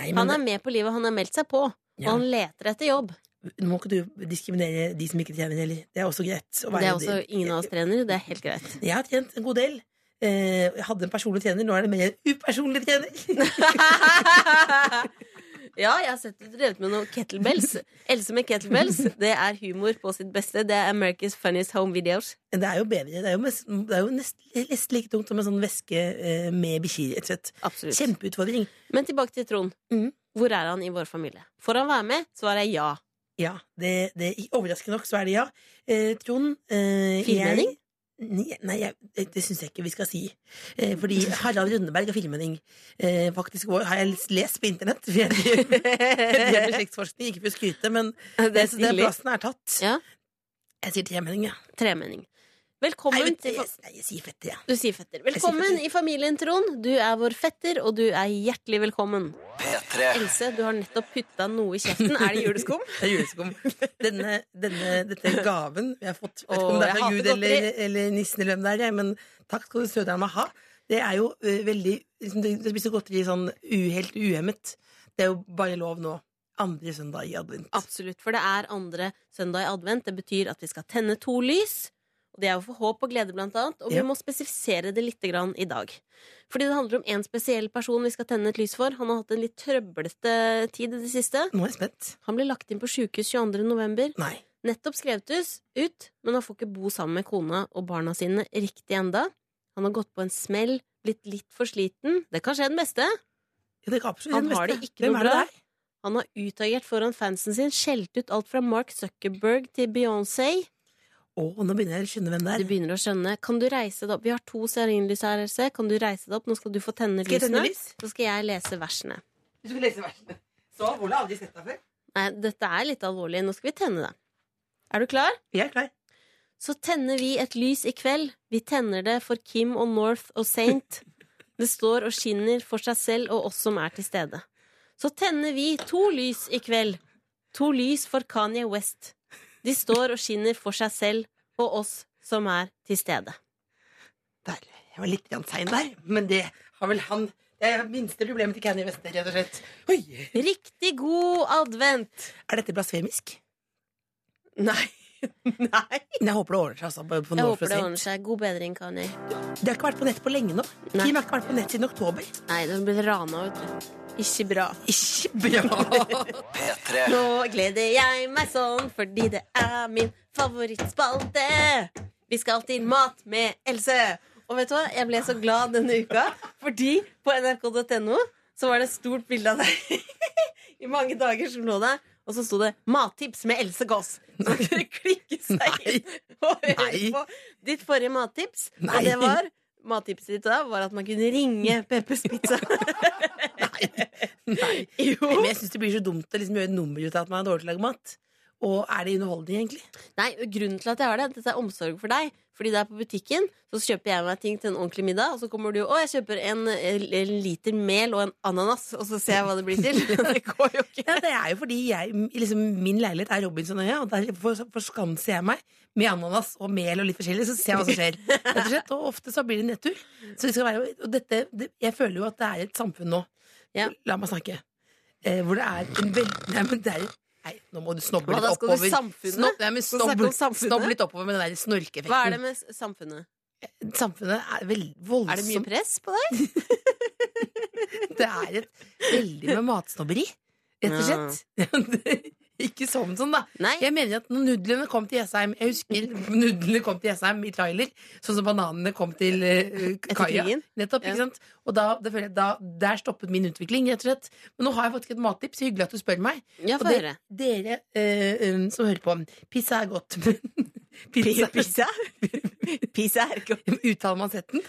S2: Nei, men
S1: Han er med på livet, han har meldt seg på, og
S2: Ja.
S1: han leter etter jobb.
S2: Nå må ikke du diskriminere de som ikke trener heller. Det er også greit.
S1: Det
S2: å
S1: er
S2: være-
S1: også ingen av oss trener, det er helt greit.
S2: Jeg har trent en god del. Eh, Jeg hadde en personlig trener, nå er det mer en upersonlig trener.
S1: ja, jeg har sett du drevet med noe kettlebells. Else med kettlebells, det er humor på sitt beste. Det er America's Funniest Home Videos.
S2: Men Det er jo bedre. Det er jo, mest, det er jo nesten, nesten like tungt som en sånn væske eh, med bikkjer. rett og slett.
S1: Absolutt.
S2: Kjempeutfordring.
S1: Men tilbake til Trond.
S2: Mhm.
S1: Hvor er han i vår familie? Får han være med? Svaret er ja.
S2: Ja, det, det, overraskende nok så er det ja. Eh, Trond eh,
S1: Filmmening?
S2: Jeg, nei, jeg, det syns jeg ikke vi skal si. Eh, fordi Harald Rønneberg har filmmening. Eh, faktisk vår, har jeg lest på internett. For jeg driver jeg driver med slektsforskning, ikke for å skryte, men
S1: det
S2: jeg synes den plassen er tatt.
S1: Ja.
S2: Jeg sier tremenning, jeg.
S1: Tremenning.
S2: Nei,
S1: Velkommen
S2: vet du,
S1: til
S2: jeg, nei, jeg sier fetter, jeg.
S1: Du sier fetter.
S2: sier
S1: Velkommen
S2: fetter.
S1: i familien, Trond. Du er vår fetter, og du er hjertelig velkommen.
S3: P3.
S1: Else, du har nettopp putta noe i kjeften. Er det juleskum?
S2: Det er juleskum. Denne, denne, dette er gaven vi har fått. Jeg vet ikke
S1: Åh,
S2: om det er
S1: jeg
S2: fra
S1: hater
S2: Gud eller, eller nissen eller hvem det er, jeg, men takk skal du sødre meg ha. Det er jo eh, veldig liksom, Det det blir så godteri sånn u, helt uhemmet. Det er jo bare lov nå. Andre søndag i advent.
S1: Absolutt, for det er andre søndag i advent. Det betyr at vi skal tenne to lys. Og det er jo for håp og glede, blant annet. Og vi
S2: Ja.
S1: må spesifisere det litt grann i dag. Fordi det handler om én spesiell person vi skal tenne et lys for. Han har hatt en litt trøblete tid i det siste.
S2: Nå er jeg spent.
S1: Han ble lagt inn på sjukehus 22. november.
S2: Nei.
S1: Nettopp skrevet us- ut, men han får ikke bo sammen med kona og barna sine riktig enda. Han har gått på en smell, blitt litt for sliten. Det kan skje den beste.
S2: Ja, det er absolutt
S1: Han
S2: den
S1: har det
S2: beste.
S1: ikke
S2: Hvem
S1: noe
S2: er det
S1: bra.
S2: der?
S1: Han har utagert foran fansen sin, skjelt ut alt fra Mark Zuckerberg til Beyoncé.
S2: Å, nå begynner jeg å skjønne hvem
S1: Du
S2: det er.
S1: begynner å skjønne. Kan du reise deg opp? Vi har to stearinlys her, Else. Kan du reise deg opp? Nå skal du få tenne
S2: Skal jeg tenne
S1: lysene.
S2: lys?
S1: Så skal jeg lese versene.
S2: Du skal lese versene. Så alvorlig har jeg aldri sett deg før.
S1: Nei, dette er litt alvorlig. Nå skal vi tenne det. Er du klar?
S2: Jeg er klar.
S1: Så tenner vi et lys i kveld. Vi tenner det for Kim og North og Saint. Det står og skinner for seg selv og oss som er til stede. Så tenner vi to lys i kveld. To lys for Kanye West. De står og skinner for seg selv og oss som er til stede.
S2: Der. Jeg var litt grann sein der, men det har vel han Det er minste problemet til Kanye West, rett og slett. Oi.
S1: Riktig god advent!
S2: Er dette blasfemisk?
S1: Nei. Nei.
S2: Men jeg håper det ordner seg. Altså, på, på
S1: Jeg
S2: nå,
S1: håper
S2: for å
S1: det
S2: si.
S1: ordner seg. God bedring, Kanye.
S2: De har ikke vært på nett på lenge nå.
S1: Nei.
S2: Kim har ikke vært på nett siden oktober.
S1: Nei, du blir rana ut. Ikke bra.
S2: Ikke bra!
S3: P3.
S1: Nå gleder jeg meg sånn, fordi det er min favorittspalte. Vi skal til Mat med Else. Og vet du hva, jeg ble så glad denne uka, fordi på nrk.no så var det et stort bilde av deg i mange dager som lå der. Og så sto det 'Mattips med Else Gåss'. Så man kunne klikke seg inn og høre
S2: Nei.
S1: på ditt forrige mattips.
S2: Nei.
S1: Og det var mattipset ditt da var at man kunne ringe Peppers Pizza.
S2: Nei. Nei.
S1: Jo.
S2: Men jeg syns det blir så dumt å liksom gjøre et nummer ut av at man er dårlig til å lage mat. Og er det underholdning, egentlig?
S1: Nei, grunnen til at jeg har det, dette er omsorg for deg. Fordi det er på butikken, så kjøper jeg meg ting til en ordentlig middag, og så kommer du og jeg kjøper en, eh, en liter mel og en ananas, og så ser jeg hva det blir til. det går jo ikke.
S2: Ja, det er jo fordi jeg, liksom, min leilighet er Robinsonøya, og der for- forskanser jeg meg med ananas og mel og litt forskjellig, så ser jeg hva som skjer. Rett og, slett, og ofte så blir det nedtur. Så det skal være, og dette, det, jeg føler jo at det er et samfunn nå.
S1: Ja.
S2: La meg snakke. Eh, hvor det er en veldig Nei, men det er Nei, nå må du snobbe
S1: Hva,
S2: litt
S1: da skal du
S2: oppover.
S1: samfunnet?
S2: Snobb- nei, men
S1: Skal du snakke
S2: snobb-
S1: om samfunnet?
S2: snobb litt oppover med den der snorkeeffekten.
S1: Hva er det med s- samfunnet?
S2: Samfunnet er veldig voldsomt.
S1: Er det mye press på deg?
S2: Det er et veldig med matsnobberi, rett og slett. Ikke sånn sånn, da.
S1: Nei.
S2: Jeg mener at når nudlene kom til Jessheim Jeg husker nudlene kom til Jessheim i trailer, sånn som bananene kom til eh, kaia.
S1: krigen?
S2: Nettopp,
S1: Ja.
S2: ikke sant? Og da, det føler jeg, da, der stoppet min utvikling, rett og slett. Men nå har jeg faktisk et mattips. Hyggelig at du spør meg.
S1: Ja,
S2: Og
S1: få
S2: det,
S1: høre.
S2: dere eh, eh, som hører på, pizza er godt. men pizza,
S1: Pizza er godt.
S2: Uttaler man setten?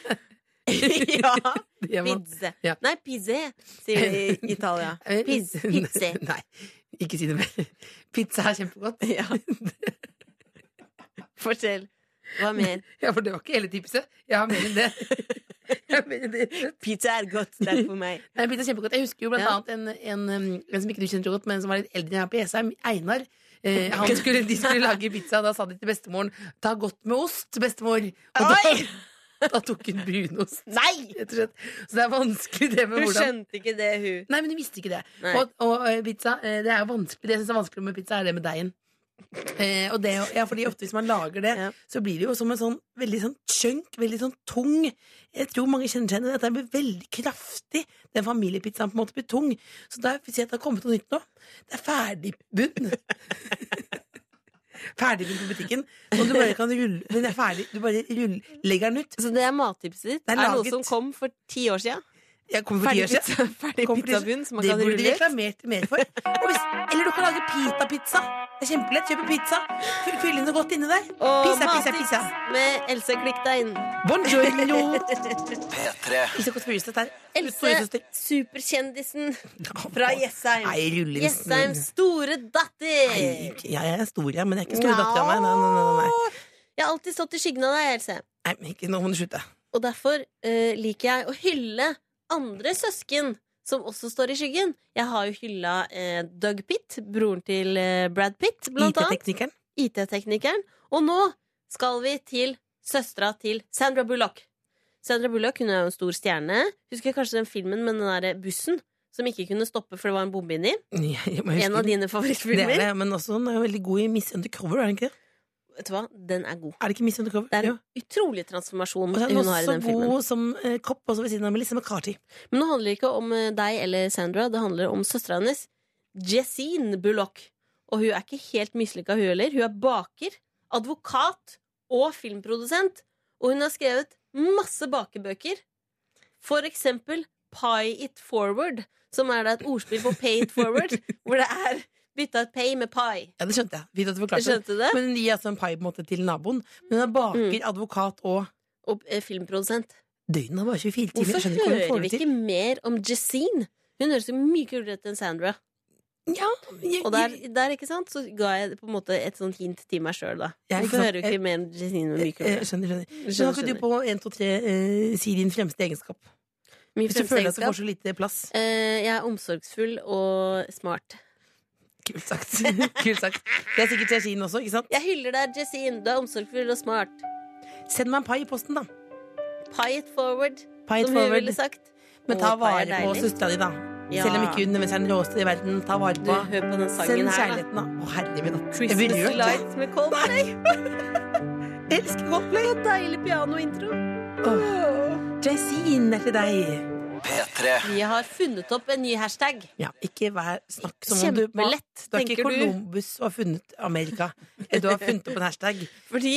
S1: ja.
S2: Det gjør man.
S1: Pizza.
S2: Ja.
S1: Nei, pizze, sier de i Italia.
S2: Eh,
S1: Piz, pizze.
S2: Nei, ikke si det mer. Pizza er kjempegodt.
S1: Ja. Fortell. Hva mer?
S2: Ja, for det var ikke hele tipset. Jeg har mer enn det.
S1: Pizza er godt, det er for meg.
S2: Nei, Peter, kjempegodt. Jeg husker jo blant
S1: Ja.
S2: annet en, en, um, en som ikke du kjenner så godt, men som var litt eldre enn jeg er på Jessheim, Einar. Eh, han skulle, de skulle lage pizza, og da sa de til bestemoren 'ta godt med ost', bestemor. Og da, da tok hun brunost,
S1: Nei!
S2: rett og slett. Så det er vanskelig det med
S1: Hun
S2: hvordan
S1: skjønte ikke det, hun.
S2: Nei, men hun visste ikke det.
S1: Nei.
S2: Og, og eh, pizza, eh, det er jo vanskelig Det jeg syns er vanskelig med pizza, er det med deigen. Eh, og det, ja, fordi ofte hvis man lager det,
S1: Ja.
S2: så blir det jo som en sånn veldig sånn chunk, veldig sånn tung Jeg tror mange kjenner seg igjen i det, at den blir veldig kraftig. Den familiepizzaen på en måte blir tung. Så da vil jeg si at det har kommet noe nytt nå. Det er ferdigbunn. ferdigbunn på butikken. Sånn du bare kan rulle Den er ferdig. Du bare ruller, legger den ut.
S1: Så det er mattipset ditt.
S2: Det
S1: Er,
S2: er
S1: noe
S2: laget.
S1: som kom for ti år siden.
S2: Jeg kommer for ti
S1: Ferdig
S2: år siden.
S1: pizza, ferdig
S2: Kom for ti år
S1: pizzabunn som man
S2: Det
S1: kan
S2: burde de
S1: rulle ut.
S2: reklamert mer for. Og hvis, eller du kan lage pitapizza. Det er kjempelett. Kjøpe pizza. Fyll- Fyll inn noe godt inni der.
S1: Og
S2: Pizza, pizza,
S1: Mattips
S2: pizza.
S1: med Else Klikk deg inn.
S2: Buongiorno.
S3: P3.
S2: Ikke godt fyrestøtt her.
S1: Else, superkjendisen fra Jessheim.
S2: Nei, rulle
S1: Jesseims store datter.
S2: Nei, Jeg er stor, ja, men jeg er ikke stor datter av meg. Nei, nei, nei, nei, nei.
S1: Jeg har alltid stått i skyggen av deg, Else.
S2: nei men ikke, nå må du slutte.
S1: Og derfor eh, liker jeg å hylle andre søsken som også står i skyggen. Jeg har jo hylla eh, Doug Pitt, broren til eh, Brad Pitt, blant annet.
S2: IT-teknikeren.
S1: IT-teknikeren. Og nå skal vi til søstera til Sandra Bullock. Sandra Bullock hun er jo en stor stjerne. Husker kanskje den filmen med den der bussen som ikke kunne stoppe for det var en bombe inni?
S2: Jeg må huske
S1: En av
S2: den.
S1: dine
S2: Det er
S1: favorittfilmer.
S2: det, men også hun er jo veldig god i Miss Undercover, er det ikke det?
S1: Vet du hva? Den er god.
S2: Er det ikke Miss Undercover?
S1: Det er
S2: Jo.
S1: en utrolig transformasjon
S2: Og så er
S1: hun
S2: hun
S1: har i
S2: også
S1: den filmen.
S2: god som eh, kopp, også ved siden av Melissa McCarthy.
S1: Men nå handler det ikke om eh, deg eller Sandra, det handler om søstera hennes, Jessine Bullock. Og hun er ikke helt mislykka, hun heller. Hun er baker, advokat og filmprodusent. Og hun har skrevet masse bakebøker. For eksempel Pie It Forward, som er da et ordspill på Pay It Forward, hvor det er bytta ut pay med pie.
S2: Ja, det skjønte jeg. Fint at du forklarte det.
S1: Skjønte du det?
S2: Men hun gir altså en pai på en måte til naboen. Men hun er baker,
S1: Mm.
S2: advokat og
S1: Og eh, filmprodusent.
S2: Døgnet er bare 24 timer.
S1: Hvorfor
S2: jeg skjønner ikke hvordan hun
S1: hører
S2: får
S1: vi
S2: det til.
S1: ikke mer om Jessine? Hun høres jo mye kulere ut enn Sandra.
S2: Ja, jeg,
S1: Og der, der ikke sant, så ga jeg på en måte et sånt hint til meg sjøl, da.
S2: Ja,
S1: Hvorfor
S2: ikke sant?
S1: hører du ikke mer enn Jessine med
S2: jeg, jeg
S1: mikrofon?
S2: Eh, skjønner, skjønner. Men har
S1: Skjønner,
S2: ikke du
S1: skjønner.
S2: på 1, 2, 3 eh, si din fremste egenskap?
S1: Min
S2: Hvis du føler at du får
S1: fremste egenskap?
S2: så lite plass.
S1: Eh, jeg er omsorgsfull og smart.
S2: Kult sagt. Kult sagt. Det er sikkert Yashin også, ikke sant?
S1: Jeg hyller deg, Jessine. Du er omsorgsfull og smart.
S2: Send meg en pai i posten, da.
S1: Pie it forward,
S2: Pai
S1: som hun
S2: forward.
S1: ville sagt.
S2: Men ta
S1: Å, pai er
S2: vare på
S1: deilig.
S2: søstera di, da.
S1: Ja.
S2: Selv om ikke hun nødvendigvis er den råeste i verden. Ta vare
S1: Du,
S2: på
S1: hør på den sangen
S2: Send
S1: her, da.
S2: kjærligheten, da. Å, herlig min hatt. Jeg blir
S1: Christmas
S2: rørt.
S1: Lights med Coldplay.
S2: Jeg Elsker Coldplay.
S1: Deilig pianointro.
S2: Jazeen er til deg.
S3: P3.
S1: Vi har funnet opp en ny hashtag.
S2: Ja, ikke vær snakk som om du Du
S1: Kjempelett,
S2: er ikke
S1: tenker du.
S2: Columbus og har funnet Amerika. Du har funnet opp en hashtag.
S1: Fordi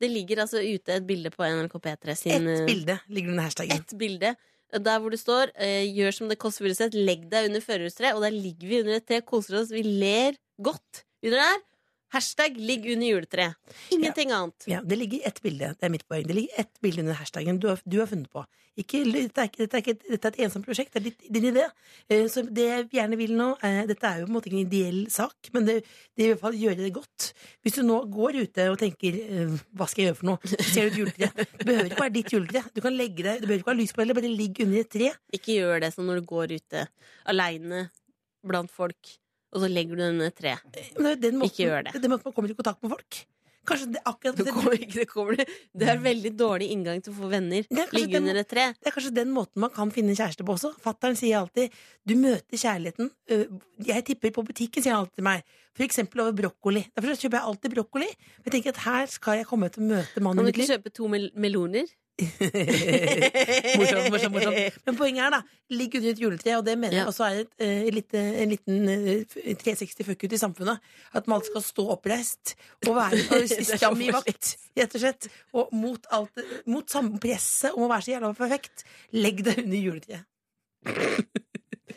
S1: det ligger altså ute et bilde på NRK P3 sin
S2: Ett
S1: eh,
S2: bilde ligger under hashtaggen.
S1: ett bilde der hvor det står eh, 'Gjør som det Kåss Furuseth, legg deg under førerhustreet'. Og der ligger vi under et tre, koser oss, vi ler godt under der. Hashtag 'ligg under juletreet'. Ingenting annet.
S2: Ja, det ligger ett bilde. Det er mitt poeng. Det ligger ett bilde under hashtaggen du har, du har funnet på. Ikke, dette, er ikke, dette, er ikke, dette er et ensomt prosjekt. Det er ditt, din idé. Eh, Så det jeg gjerne vil nå eh, Dette er jo på en måte ikke en ideell sak, men det, det vil i hvert fall gjøre det godt. Hvis du nå går ute og tenker eh, 'hva skal jeg gjøre for noe', ser du et juletre. Det behøver ikke være ditt juletre. Du kan legge deg, du behøver ikke ha lys på det, eller bare ligg under et tre.
S1: Ikke gjør det som når du går ute aleine blant folk, og så legger du deg under et tre.
S2: Men det er jo den måten,
S1: Ikke gjør det.
S2: er den måten man kommer i kontakt med folk. Kanskje det, akkurat
S1: Du
S2: det,
S1: kommer ikke, det, kommer du. det er veldig dårlig inngang til å få venner.
S2: altså, Det er kanskje
S1: Ligge
S2: den-
S1: under et tre.
S2: det er kanskje den måten man kan finne en kjæreste på også. Fattern sier alltid 'du møter kjærligheten'. øh, Jeg tipper på butikken, sier han alltid til meg. For eksempel over brokkoli. Derfor kjøper jeg alltid brokkoli. Men jeg tenker at her skal jeg komme til å møte
S1: Kan
S2: mannen i
S1: du
S2: mitt
S1: ikke
S2: liv.
S1: kjøpe to mel meloner?
S2: morsomt, morsomt, morsomt. Men poenget er, da, ligg under et juletre, og det mener jeg
S1: Ja.
S2: også er et, øh, lite, en liten øh, 360 fuck ut i samfunnet. At man skal stå oppreist og være og
S1: Det er så
S2: stram i vakt, rett og slett. Og mot, alt, mot samme presset om å være så jævla perfekt. Legg deg under juletreet.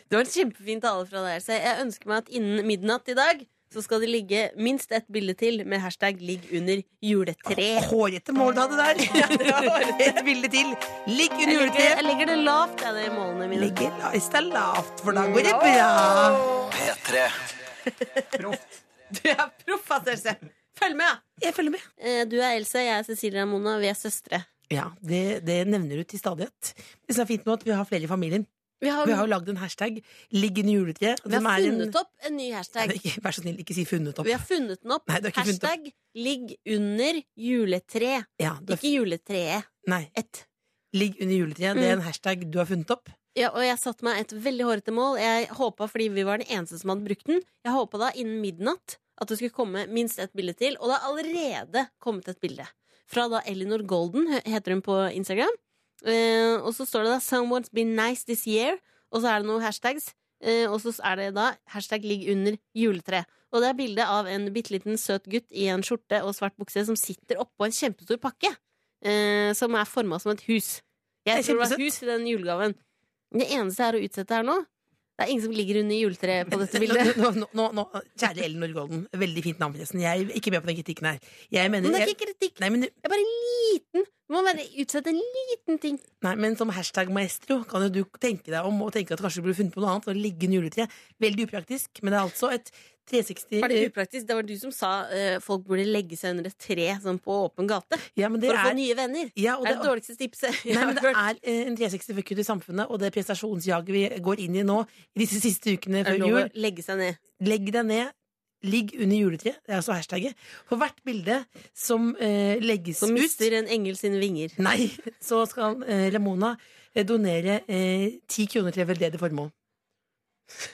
S1: Det var en kjempefin tale fra deg. Så jeg ønsker meg at innen midnatt i dag så skal det ligge minst ett bilde til med hashtag 'ligg under juletre'.
S2: Hårete mål du hadde der. Et bilde til. Ligg
S1: Jeg legger, jeg
S2: under juletreet.
S1: legger det lavt, jeg, det i målene mine.
S2: Legg lista lavt, for da går det bra.
S3: P3.
S1: Du er proff, ass, Else. Følg med, ja.
S2: Jeg følger med.
S1: Eh, Du er Else, jeg er Cecilie Ramona, vi er søstre.
S2: Ja, det, det nevner du til stadighet. Det som er fint nå, at vi har flere i familien.
S1: Vi har,
S2: Vi har jo lagd en hashtag 'ligg under juletreet'.
S1: vi har funnet opp en ny hashtag.
S2: opp Vær så snill, ikke si 'funnet opp'.
S1: Vi har funnet den opp.
S2: Nei, du har ikke funnet opp.
S1: Hashtag 'ligg under juletre'.
S2: Ja, du har-
S1: Ikke juletreet.
S2: Nei.
S1: Et.
S2: Ligg under juletreet. Det er en
S1: Mm.
S2: hashtag du har funnet opp.
S1: Ja, og jeg satte meg et veldig hårete mål. Jeg håpa, fordi vi var den eneste som hadde brukt den, jeg håpa da innen midnatt at det skulle komme minst et bilde til. Og det har allerede kommet et bilde. Fra da Elinor Golden, he- heter hun på Instagram. Eh, og så står det da 'Someone's been nice this year', og så er det noen hashtags. Eh, og så er det da hashtag 'ligg under juletre'. Og det er bilde av en bitte liten søt gutt i en skjorte og svart bukse som sitter oppå en kjempestor pakke. Eh, som er forma som et hus. Jeg
S2: Det er
S1: tror det var
S2: kjempesøtt.
S1: hus i den julegaven. Det eneste er å utsette her nå. Det er ingen som ligger under juletreet på dette bildet.
S2: Nå, nå, nå, nå, kjære Elinor Golden, veldig fint navn, forresten. Jeg er ikke med på den kritikken her. Jeg mener,
S1: Men det er
S2: jeg,
S1: ikke kritikk.
S2: nei, men,
S1: Det er bare en liten Du må bare utsette en liten ting.
S2: nei, men som hashtag maestro kan jo du tenke deg om og tenke at kanskje du burde funnet på noe annet. Og ligge under juletreet. Veldig upraktisk, men det er altså et 360
S1: Var det upraktisk? Det var du som sa eh, folk burde legge seg under et tre sånn på åpen gate
S2: ja, men det
S1: for å få
S2: er,
S1: nye venner.
S2: ja, og
S1: Det er det dårligste tipset jeg
S2: Nei,
S1: har
S2: men Det
S1: hørt.
S2: er eh, en 360-fuck-ut i samfunnet, og det prestasjonsjaget vi går inn i nå, i disse siste ukene
S1: Det er
S2: før
S1: lov å
S2: jul,
S1: legge seg ned.
S2: legg deg ned, ligg under juletreet, det er altså hashtagget. For hvert bilde som eh, legges
S1: Så
S2: ut
S1: mister en engel sine vinger.
S2: Nei, så skal eh, Ramona eh, donere eh, 10 kroner til veldedig formål.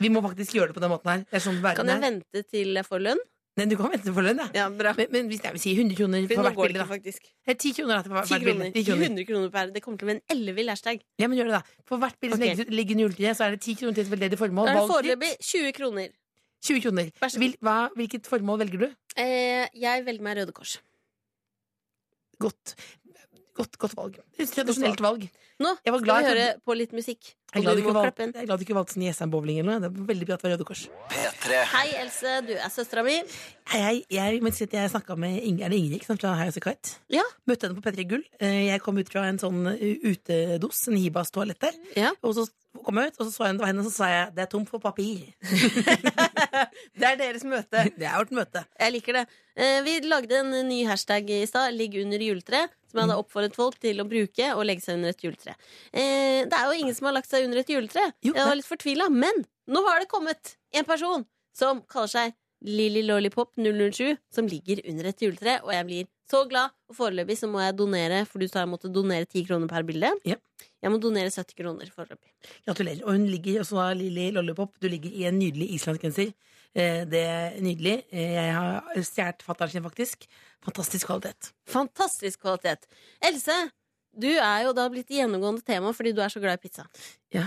S2: Vi må faktisk gjøre det på den måten her. Det er sånn
S1: Kan
S2: verden
S1: jeg
S2: er.
S1: vente til jeg får lønn?
S2: Nei, du kan vente for lønn, ja.
S1: Ja, bra.
S2: Men, men hvis jeg vil si 100 kroner
S1: For nå
S2: for hvert
S1: går det
S2: bilde,
S1: ikke,
S2: da.
S1: faktisk.
S2: Eh, 10 kroner da, til hvert
S1: 10
S2: bilde.
S1: kroner.
S2: 10
S1: Ikke
S2: kroner.
S1: 100 kroner per. Det kommer til å bli en ellevill hashtag.
S2: Ja, men gjør det, da. For hvert bilde som
S1: Ok.
S2: legges ut, ligger under juletreet, så er det 10 kroner til et veldedig formål.
S1: Da er det
S2: Valgfritt.
S1: foreløpig 20 kroner.
S2: 20 kroner.
S1: Vær så god.
S2: Hvil, hva, hvilket formål velger du?
S1: Eh, jeg velger meg Røde Kors.
S2: Godt, godt, godt valg. Et Tradisjonelt valg.
S1: Nå
S2: Jeg var
S1: skal
S2: glad
S1: vi
S2: jeg
S1: høre
S2: trodde-
S1: på litt musikk.
S2: Jeg er
S1: Og
S2: glad du
S1: du
S2: ikke
S1: må
S2: valg-
S1: klappe inn.
S2: jeg er glad du ikke valgte sånn Jessheim bowling eller noe. Det er veldig bra at det var Røde Kors.
S3: P3.
S1: Hei, Else. Du er søstera mi.
S2: Jeg, jeg, mens jeg snakka med Inger, er det Ingrid ikke sant, fra House of Kite.
S1: Ja.
S2: Møtte henne på P3 Gull. Eh, Jeg kom ut fra en sånn utedos, en Hibas toalett der.
S1: Ja.
S2: Og så kom jeg ut, og så så jeg det var henne, og så sa jeg 'det er tomt for papir'.
S1: Det er deres møte.
S2: Det er vårt møte.
S1: Jeg liker det. Eh, Vi lagde en ny hashtag i stad, 'ligg under juletre', som jeg hadde
S2: Mm.
S1: oppfordret folk til å bruke og legge seg under et juletre. Eh, Det er jo ingen som har lagt seg under et juletre.
S2: Jo,
S1: Jeg var
S2: nei.
S1: litt fortvila, men nå har det kommet en person som kaller seg Lilly Lollipop 007, som ligger under et juletre, og jeg blir så glad. Og foreløpig så må jeg donere, for du sa jeg måtte donere 10 kroner per bilde.
S2: Ja.
S1: Jeg må donere 70 kroner foreløpig.
S2: Gratulerer. Og hun ligger også da, Lilly Lollipop, du ligger i en nydelig islandsgenser. Eh, Det er nydelig. Eh, Jeg har stjålet fatter'n sin, faktisk. Fantastisk kvalitet.
S1: Fantastisk kvalitet. Else, du er jo da blitt gjennomgående tema fordi du er så glad i pizza.
S2: Ja.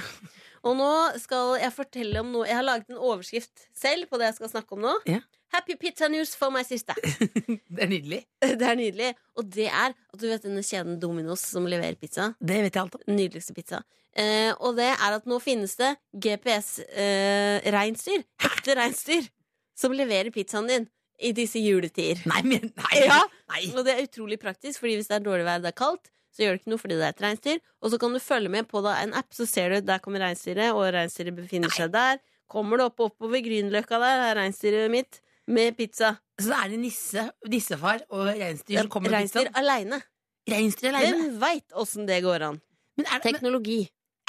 S1: Og nå skal jeg fortelle om noe Jeg har laget en overskrift selv på det jeg skal snakke om nå.
S2: Ja.
S1: Happy pizza news for my sister.
S2: Det er nydelig.
S1: Det er nydelig. Og det er at du vet denne kjeden Dominos som leverer pizza.
S2: Det vet jeg alt om.
S1: Den Nydeligste pizza. Eh, og det er at nå finnes det GPS-reinsdyr. eh, ekte reinsdyr. Som leverer pizzaen din i disse juletider.
S2: Nei, men nei!
S1: Ja.
S2: nei.
S1: Og det er utrolig praktisk, fordi hvis det er dårlig vær og det er kaldt, så gjør det ikke noe fordi det er et reinsdyr. Og så kan du følge med på da, en app, så ser du der kommer reinsdyret, og reinsdyret befinner seg der. Kommer det opp og oppover Grünerløkka der, er reinsdyret mitt med pizza.
S2: Så det er en nisse, nissefar og reinsdyr som kommer med
S1: Reinsdyr
S2: pizzaen?
S1: aleine.
S2: Reinsdyr alene?
S1: Hvem veit åssen det går an?
S2: Men er det, men,
S1: Teknologi.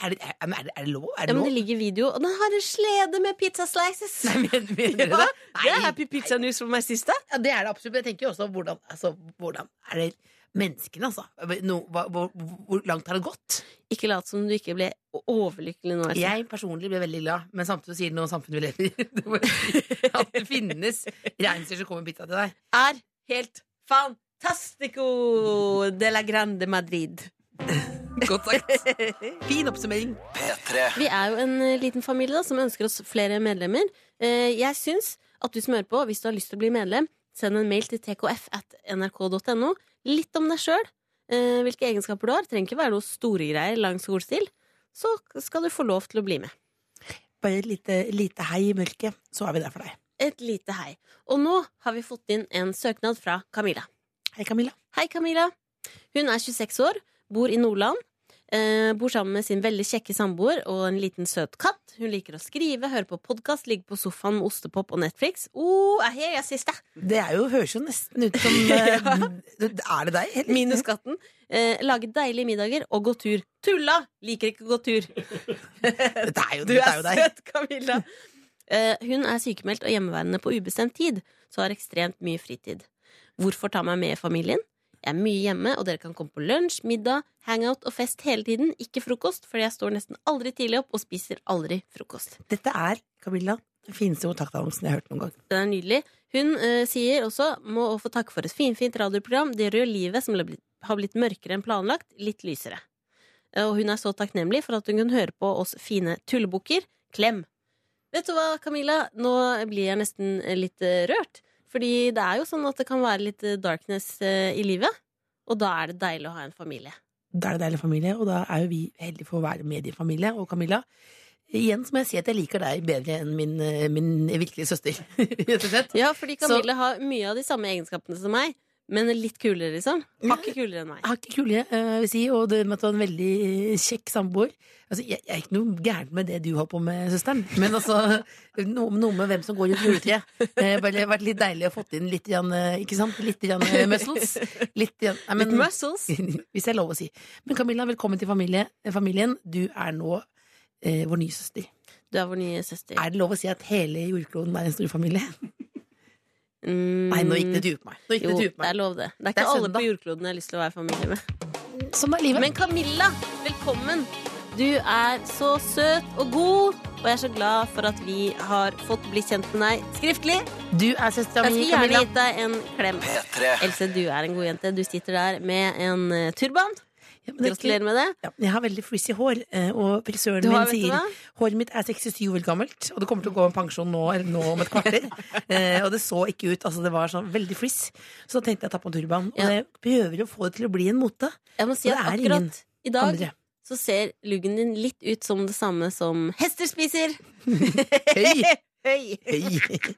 S2: er det, er, men er det, er det lov? Er
S1: Ja,
S2: det
S1: men
S2: lov?
S1: det ligger video, og den har en slede med pizza slices!
S2: Nei, men, mener
S1: Ja,
S2: dere det?
S1: Det er
S2: Nei.
S1: happy pizza news for meg siste.
S2: Ja, det er det absolutt. Men jeg tenker jo også hvordan, altså, hvordan er det menneskene, altså? No, hva, hvor, hvor langt har det gått?
S1: Ikke lat som du ikke ble overlykkelig nå. Else.
S2: Jeg personlig ble veldig glad, men samtidig sier det noe om samfunnet vi lever i. Det må jeg si. At det finnes reinsdyr som kommer med pizza til deg.
S1: er helt fantastico de la grande Madrid.
S2: Godt sagt. Fin oppsummering.
S3: P3.
S1: Vi er jo en eh, liten familie da, som ønsker oss flere medlemmer. Eh, Jeg syns at du som hører på, hvis du har lyst til å bli medlem, send en mail til tkf at nrk.no. Litt om deg sjøl, hvilke egenskaper du har. Trenger ikke være noe store greier lang skolestil. Så skal du få lov til å bli med.
S2: Bare et lite, lite hei i mørket, så er vi der for deg.
S1: Et lite hei. Og nå har vi fått inn en søknad fra Camilla.
S2: Hei, Camilla.
S1: Hei, Camilla. Hun er 26 år, bor i Nordland. Eh, Eh, bor sammen med sin veldig kjekke samboer og en liten søt katt. Hun liker å skrive, høre på podkast, ligge på sofaen med ostepop og Netflix. Oh, I hear you, sister!
S2: Det er jo, høres jo nesten ut som eh, Er det deg? Helt-
S1: Minus katten. Eh, lage deilige middager og gå tur. Tulla! Liker ikke å gå tur.
S2: Dette er jo,
S1: Du
S2: dette
S1: er
S2: er jo deg.
S1: søt, Camilla. Eh, hun er sykemeldt og hjemmeværende på ubestemt tid, så har ekstremt mye fritid. Hvorfor ta meg med i familien? Jeg er mye hjemme, og dere kan komme på lunsj, middag, hangout og fest hele tiden. Ikke frokost, fordi jeg står nesten aldri tidlig opp og spiser aldri frokost.
S2: Dette er Camilla, den fineste kontaktannonsen jeg har hørt noen gang.
S1: Den er nydelig. Hun eh, sier også må å få takke for et finfint radioprogram. Det gjør jo livet, som har blitt- har blitt mørkere enn planlagt, litt lysere. Eh, Og hun er så takknemlig for at hun kunne høre på oss fine tullebukker. Klem! Vet du hva, Camilla? Nå blir jeg nesten eh, litt eh, rørt. Fordi det er jo sånn at det kan være litt eh, darkness eh, i livet. Og da er det deilig å ha en familie.
S2: Da er det deilig familie, og da er jo vi heldige for å være mediefamilie. Og Camilla, igjen så må jeg si at jeg liker deg bedre enn min, eh, min virkelige søster. Rett og slett.
S1: Ja, fordi Camilla har mye av de samme egenskapene som meg, men litt kulere, liksom. Hakket kulere enn meg.
S2: Hakket kulere, eh, vil si, og det med at du har en veldig eh, kjekk samboer. Altså, jeg, jeg er ikke noe gærent med det du har på med søsteren, men altså, noe, noe med hvem som går rundt juletreet. Eh, bare Det har vært litt deilig å få inn litt, grann, eh, ikke sant? litt grann eh, muscles. Litt, grann, nei, men-
S1: Litt muscles.
S2: hvis det er lov å si. Men Camilla, velkommen til familie, familien. Du er nå eh, vår nye søster.
S1: Du er vår nye søster.
S2: Er det lov å si at hele jordkloden er en stor familie?
S1: Mm.
S2: Nei, nå gikk det tur på meg. Nå gikk
S1: Jo,
S2: det
S1: det
S2: tur på
S1: er
S2: meg.
S1: lov, det. Det er ikke
S2: Det er
S1: alle
S2: søndag.
S1: på jordkloden jeg har lyst til å være familie med.
S2: Sånn er livet.
S1: Men Camilla, velkommen! Du er så søt og god, og jeg er så glad for at vi har fått bli kjent med deg skriftlig.
S2: du er søstera
S1: Jeg
S2: mi,
S1: skulle gjerne
S2: Camilla.
S1: gitt deg en klem.
S3: P3.
S1: Else, du er en god jente. Du sitter der med en eh, turban.
S2: Ja, men det er ikke-
S1: Gratulerer med det.
S2: Ja, jeg har veldig frizzy hår, eh, og frisøren
S1: Du har,
S2: min
S1: vet du
S2: sier
S1: hva?
S2: Håret mitt er 67 år gammelt, og det kommer til å gå en pensjon nå, eller nå om et kvarter. eh, og det så ikke ut. altså Det var sånn veldig frizz. Så da tenkte jeg å ta på en turban.
S1: Ja.
S2: Og jeg prøver å få det til å bli en mote.
S1: Jeg må si
S2: Og det
S1: at
S2: er ingen
S1: akkurat i dag
S2: Andre.
S1: så ser luggen din litt ut som det samme som hester spiser.
S2: Høy!
S1: Høy!
S2: Høy.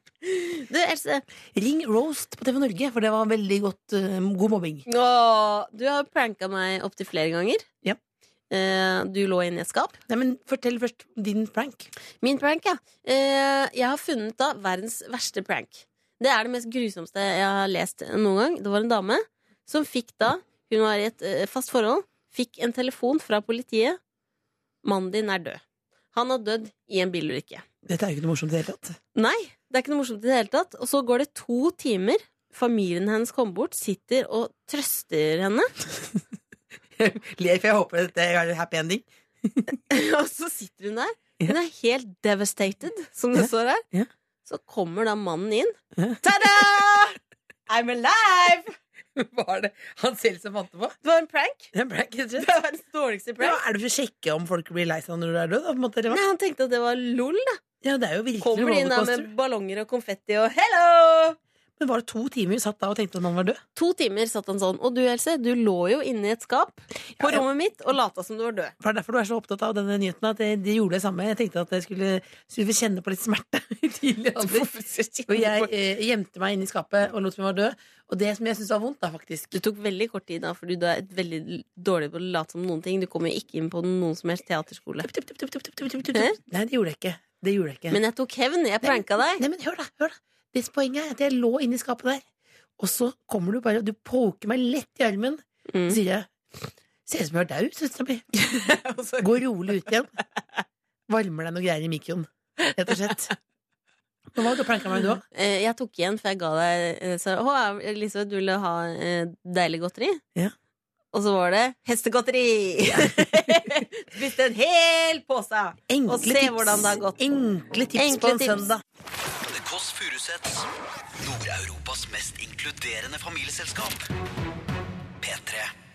S1: Du, Else,
S2: Ring Roast på TV Norge, for det var veldig godt, eh, god mobbing.
S1: Åh, du har pranka meg opptil flere ganger.
S2: Ja.
S1: Eh, du lå inne i et skap.
S2: Nei, men Fortell først om din prank.
S1: Min prank, ja. Eh, jeg har funnet da verdens verste prank. Det er det mest grusomste jeg har lest noen gang. Det var en dame som fikk da Hun var i et eh, fast forhold. Fikk en telefon fra politiet. 'Mannen din er død'. Han har dødd i en bilulykke.
S2: Dette er jo ikke noe morsomt i det hele tatt.
S1: Nei, det er ikke noe morsomt i det hele tatt. Og så går det to timer. Familien hennes kommer bort, sitter og trøster henne.
S2: Ler, for jeg håper dette er en happy ending.
S1: Og så sitter hun der. Hun er helt devastated, som det
S2: Ja.
S1: står her.
S2: Ja.
S1: Så kommer da mannen inn.
S2: Ja.
S1: Ta-da! I'm alive!
S2: Var det han selv som fant det på?
S1: Det var en prank.
S2: Det er en prank, rett og slett.
S1: Det var den dårligste
S2: Ja,
S1: prank.
S2: er det for å sjekke om folk blir lei seg når du er død? da, på en måte, eller hva?
S1: Nei, han tenkte at det var lol. da.
S2: Ja, det er jo virkelig
S1: Kommer de inn da
S2: rollercoaster.
S1: med ballonger og konfetti og hello!
S2: Men var det to timer vi satt da og tenkte at han var død?
S1: To timer satt han sånn. Og du, Else, du lå jo inne i et skap på
S2: Ja, ja.
S1: rommet mitt og lata som du var død.
S2: For Det er derfor du er så opptatt av denne nyheten. At jeg, de gjorde det samme. Jeg tenkte at jeg skulle, skulle få kjenne på litt smerte i tidlig alder. Og jeg eh, gjemte meg inni skapet og lot som jeg var død. Og det som jeg syntes var vondt, da, faktisk
S1: Det tok veldig kort tid, da, fordi du er veldig dårlig på å late som noen ting. Du kommer jo ikke inn på noen som helst teaterskole.
S2: tup, tup, tup, tup, tup, tup, tup, tup, tup.
S1: Hæ?
S2: Nei, det gjorde jeg ikke. Det gjorde jeg ikke.
S1: Men jeg tok hevn. Jeg pranka deg.
S2: Nei, men hør da, hør da. Det poenget er at jeg lå inni skapet der, og så kommer du bare og du poker meg lett i armen.
S1: Mm.
S2: Så sier jeg Ser ut som jeg er daud, søstera mi. Gå rolig ut igjen. Varmer deg noe greier i mikroen, rett og slett. Men hva har du planka meg, du òg?
S1: Eh, Jeg tok igjen, for jeg ga deg eh, så, Å, Elisabeth, du ville ha eh, deilig godteri?
S2: Ja.
S1: Og så var det hestegodteri! Spiste en hel pose!
S2: Enkle
S1: Og se hvordan det har gått.
S2: Enkle tips
S1: Enkle
S2: på en
S1: tips.
S2: søndag.
S3: The Kåss Furuseths. Nord-Europas mest inkluderende familieselskap. P3.